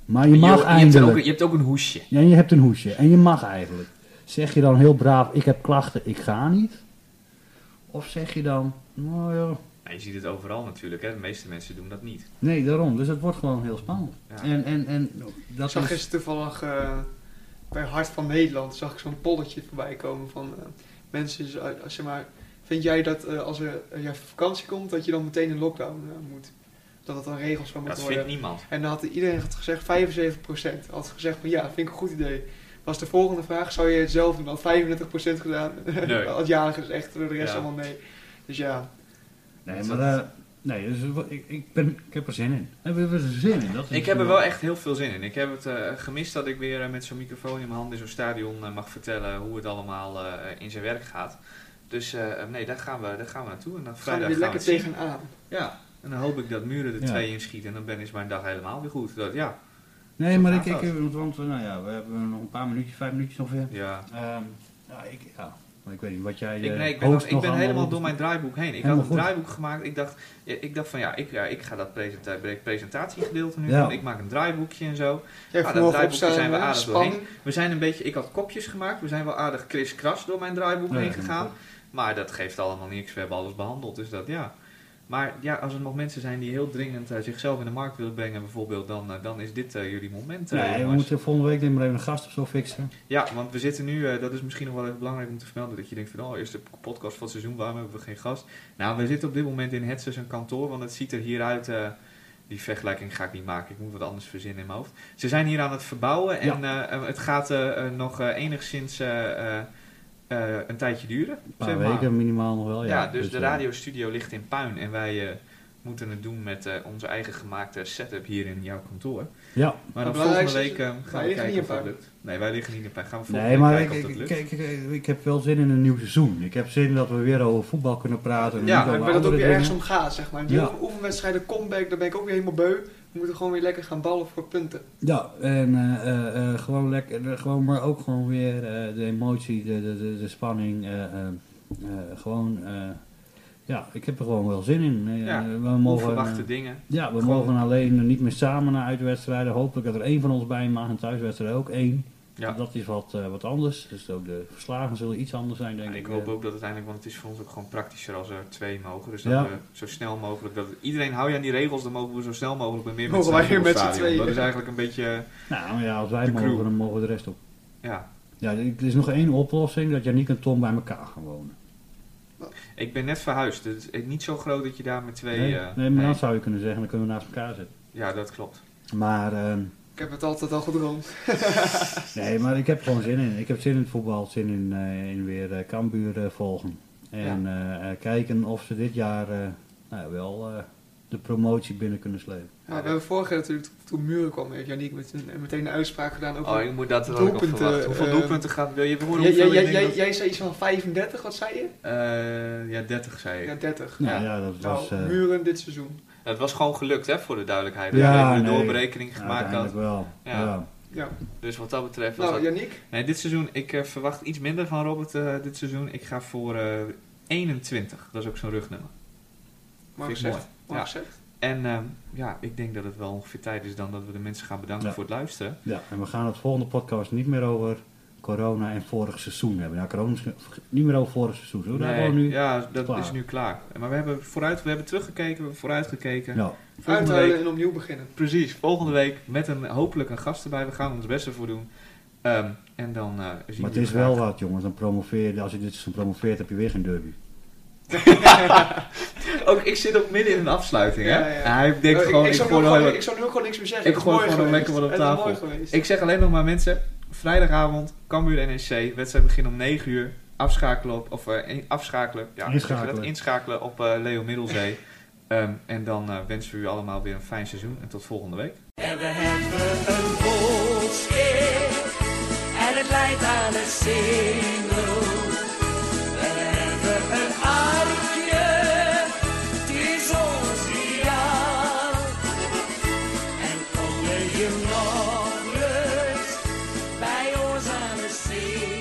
S3: Maar je
S2: Je-
S3: mag
S2: je, hebt
S3: eindelijk.
S2: ook, je hebt ook een hoesje.
S3: Ja, en je hebt een hoesje en je mag eigenlijk. Zeg je dan heel braaf, ik heb klachten, ik ga niet? Of zeg je dan, nou ja,
S2: Ja, je ziet het overal natuurlijk, hè. de meeste mensen doen dat niet.
S3: nee, daarom. Dus het wordt gewoon heel spannend.
S2: Ja.
S3: En, en, en
S4: Ik
S3: dat
S4: zag
S3: is...
S4: gisteren toevallig eh, bij Hart van Nederland zag ik zo'n polletje voorbij komen van eh, mensen, z- eh, zeg maar, vind jij dat eh, als er, eh, jij op vakantie komt, dat je dan meteen in lockdown eh, moet? Dat dat dan regels van moet
S2: Dat
S4: worden.
S2: vindt niemand.
S4: En dan had iedereen had gezegd, 75% had gezegd van ja, vind ik een goed idee. Was de volgende vraag, zou je het zelf doen? Had 35% gedaan.
S2: Nee.
S4: had ja gezegd, de rest
S2: Ja.
S4: allemaal nee. Dus ja,
S3: Nee, maar... eh, nee, dus het wordt- ik, ik, ben, ik heb er zin in. Ik heb er zin in. Dat is
S2: Ik heb er wel echt heel veel zin in. Ik heb het eh, gemist dat ik weer eh, met zo'n microfoon in mijn hand in zo'n stadion eh, mag vertellen hoe het allemaal eh, in zijn werk gaat. Dus eh, nee, daar gaan, we, daar gaan we naartoe. En dan
S4: gaan we
S2: vrijdag
S4: weer
S2: gaan we
S4: lekker
S2: het zien.
S4: tegenaan.
S2: Ja, en dan hoop ik dat Muren er
S3: Ja.
S2: twee in schiet en dan ben is mijn dag helemaal weer goed. Dat, ja.
S3: Nee, maar
S2: Zo
S3: ik...
S2: gaat
S3: ik want, eh, nou ja, we hebben nog een paar minuutjes, vijf minuutjes ongeveer.
S2: ja.
S3: Ehm ja, ik... Ja. maar Ik weet niet wat jij...
S2: Ik,
S3: eh,
S2: nee, ik ben, nog-
S3: hoogst
S2: ik ben
S3: allemaal
S2: helemaal
S3: doet.
S2: door mijn draaiboek heen. Ik had
S3: Helemaal
S2: een
S3: goed.
S2: draaiboek gemaakt. Ik dacht, ja, ik dacht van ja, ik, ja, ik ga dat presenta presentatiegedeelte nu
S3: Ja.
S2: doen. Ik maak een draaiboekje en zo.
S4: Ja,
S2: dat
S4: vanmorgen
S2: Ah, draaiboekje
S4: opstaan,
S2: zijn we
S4: eh,
S2: aardig
S4: spanning.
S2: We zijn een beetje, ik had kopjes gemaakt. We zijn wel aardig kriskras door mijn draaiboek
S3: Ja,
S2: heen
S3: dat
S2: gegaan.
S3: moet
S2: Maar dat geeft allemaal niks. We hebben alles behandeld. Dus dat ja. Maar ja, als er nog mensen zijn die heel dringend eh, zichzelf in de markt willen brengen, bijvoorbeeld, dan, eh, dan is dit eh, jullie moment. eh,
S3: Nee, we
S2: jongens.
S3: moeten volgende week denk ik maar even een gast of zo fixen.
S2: Ja, want we zitten nu, eh, dat is misschien nog wel even belangrijk om te vermelden, dat je denkt van, oh, eerst de podcast van het seizoen, waarom hebben we geen gast? Nou, we zitten op dit moment in Hetzers een kantoor, want het ziet er hieruit, eh, die vergelijking ga ik niet maken, ik moet wat anders verzinnen in mijn hoofd. Ze zijn hier aan het verbouwen en eh, eh, het gaat eh, eh, nog eh, enigszins eh, eh, eh, een tijdje duren,
S3: Een paar
S2: zeg maar.
S3: weken minimaal nog wel,
S2: Ja,
S3: ja.
S2: dus, de
S3: eh,
S2: radiostudio ligt in puin en wij eh, moeten het doen met eh, onze eigen gemaakte setup hier in jouw kantoor.
S3: Ja,
S2: Maar
S4: Het
S2: dan volgende
S4: belangrijkste is,
S2: week eh, gaan we
S4: liggen niet
S2: kijken
S4: in
S2: of dat
S4: puin.
S2: lukt. Nee, wij liggen niet in puin. Gaan we volgende
S3: nee,
S2: week
S3: maar ik,
S2: kijken of dat
S3: ik-
S2: lukt.
S3: kijk, eh, ik, ik heb wel zin in een nieuw seizoen. Ik heb zin dat we weer over voetbal kunnen praten. En
S2: Ja,
S3: niet
S4: Maar
S3: over
S4: dat ook
S3: andere
S4: weer ergens
S3: dingen.
S4: om gaat, zeg maar. Die
S3: Ja.
S4: oefenwedstrijden, comeback, daar ben ik ook weer helemaal beu. We moeten gewoon weer lekker gaan ballen voor punten.
S3: Ja, en eh, eh, eh, gewoon lekker, eh, gewoon, maar ook gewoon weer eh, de emotie, de, de, de, de spanning. eh, eh, eh, gewoon, eh, ja, ik heb er gewoon wel zin in. Eh,
S2: Ja,
S3: we mogen,
S2: Onverwachte
S3: eh,
S2: dingen.
S3: ja, we
S2: Gewoon-
S3: mogen alleen niet meer samen naar uitwedstrijden. Hopelijk dat er één van ons bij mag en thuiswedstrijden ook één.
S2: Ja.
S3: Dat is wat, eh, wat anders. Dus ook de verslagen zullen iets anders zijn, denk
S2: ik
S3: ik.
S2: hoop
S3: eh.
S2: ook dat uiteindelijk, want het is voor ons ook gewoon praktischer als er twee mogen. Dus dat
S3: Ja.
S2: we zo snel mogelijk, dat iedereen hou je aan die regels, dan mogen we zo snel mogelijk bij meer mensen
S4: Mogen wij
S2: op
S4: weer
S2: het
S4: met z'n
S2: stadion. Dat
S4: tweeën.
S2: is eigenlijk een beetje,
S3: Nou maar ja, als wij
S2: De crew.
S3: mogen, dan mogen de rest ook.
S2: ja.
S3: Ja, er is nog één oplossing, dat Janiek en Tom bij elkaar gaan wonen.
S2: Ik ben net verhuisd, dus het- niet zo groot dat je daar met twee...
S3: nee,
S2: eh,
S3: nee, maar
S2: nee.
S3: dan zou je kunnen zeggen, dan kunnen we naast elkaar zitten.
S2: Ja, dat klopt.
S3: Maar, ehm,
S4: Ik heb het altijd al gedroomd.
S3: nee, maar ik heb gewoon zin in. Ik heb zin in het voetbal, zin in, eh, in weer eh Kambuur eh, volgen. En eh, eh, kijken of ze dit jaar eh, nou ja, wel eh, de promotie binnen kunnen slepen.
S4: Maar we hebben vorig jaar natuurlijk, toen Muren kwam, heeft Janiek met een, meteen een uitspraak gedaan over...
S2: Oh, ik moet dat er ook op
S4: Doelpunten,
S2: verwachten. Hoeveel
S4: eh,
S2: doelpunten gaat, wil je horen
S4: Jij-
S2: hoeveel
S4: jij-
S2: ik denk
S4: jij- jij-
S2: dat-
S4: Jij zei iets van 35, wat zei je?
S2: Eh, Ja, 30 zei ik.
S4: Ja, 30.
S3: Nou
S2: Ja.
S3: ja, dat
S4: Nou,
S3: was... eh,
S4: Muren dit seizoen.
S2: Het was gewoon gelukt, hè, voor de duidelijkheid.
S3: Ja,
S2: Ja, een
S3: nee.
S2: doorberekening
S3: nou,
S2: gemaakt had.
S3: uiteindelijk wel.
S2: Ja.
S3: Ja.
S4: Ja.
S2: Dus wat dat betreft was
S4: Nou,
S2: dat...
S4: Janiek,
S2: Nee, dit seizoen, ik eh, verwacht iets minder van Robert eh, dit seizoen. Ik ga voor eh, 21. Dat is ook zo'n rugnummer.
S4: mag
S2: Vind ik
S4: gezegd.
S2: mooi.
S4: Mag gezegd.
S2: En ehm, ja, ik denk dat het wel ongeveer tijd is dan dat we de mensen gaan bedanken
S3: Ja.
S2: voor het luisteren.
S3: Ja, en we gaan het volgende podcast niet meer over corona en vorig seizoen hebben. Nou, corona misschien niet meer over vorig seizoen. Zullen we daar
S2: Nee,
S3: gewoon nu...
S2: ja, dat
S3: Klaar.
S2: is nu klaar. Maar we hebben, vooruit, we hebben teruggekeken, we hebben vooruitgekeken.
S3: Nou,
S2: Volgende
S4: Uithuilen
S2: week,
S4: en opnieuw beginnen.
S2: precies, volgende week met een, hopelijk een gast erbij. We gaan ons best ervoor doen. Eh, Ehm, en dan eh zien
S3: Maar het
S2: we
S3: is wel wat, jongens. Dan promoveer je- als je dit seizoen promoveert, heb je weer geen derby.
S2: Ook, ik zit ook midden in een afsluiting, hè?
S4: Ja, ja.
S2: Hij denkt
S4: Oh,
S2: gewoon,
S4: ik,
S2: ik,
S4: ik, zou
S2: gooi
S4: nu
S2: nog
S4: ook
S2: heel-
S4: gewoon, ik zou nu ook gewoon niks meer zeggen.
S2: Ik
S4: Het is
S2: gooi
S4: mooi
S2: gewoon
S4: geweest.
S2: lekker wat op
S4: Het is
S2: tafel.
S4: mooi geweest.
S2: Ik zeg alleen nog maar mensen, vrijdagavond, Cambuur NEC, wedstrijd begint om 9 uur. Afschakelen op, of eh, in- afschakelen, ja, hoe zeg je dat?
S3: Inschakelen.
S2: inschakelen op eh, Leo Middelzee. Ehm, en dan eh, wensen we u allemaal weer een fijn seizoen en tot volgende week.
S1: En we hebben een volkskeer. En het leidt aan een singel. We hebben een arkje. Het is ons ideaal. En kom je hier nog eens bij ons aan de zee.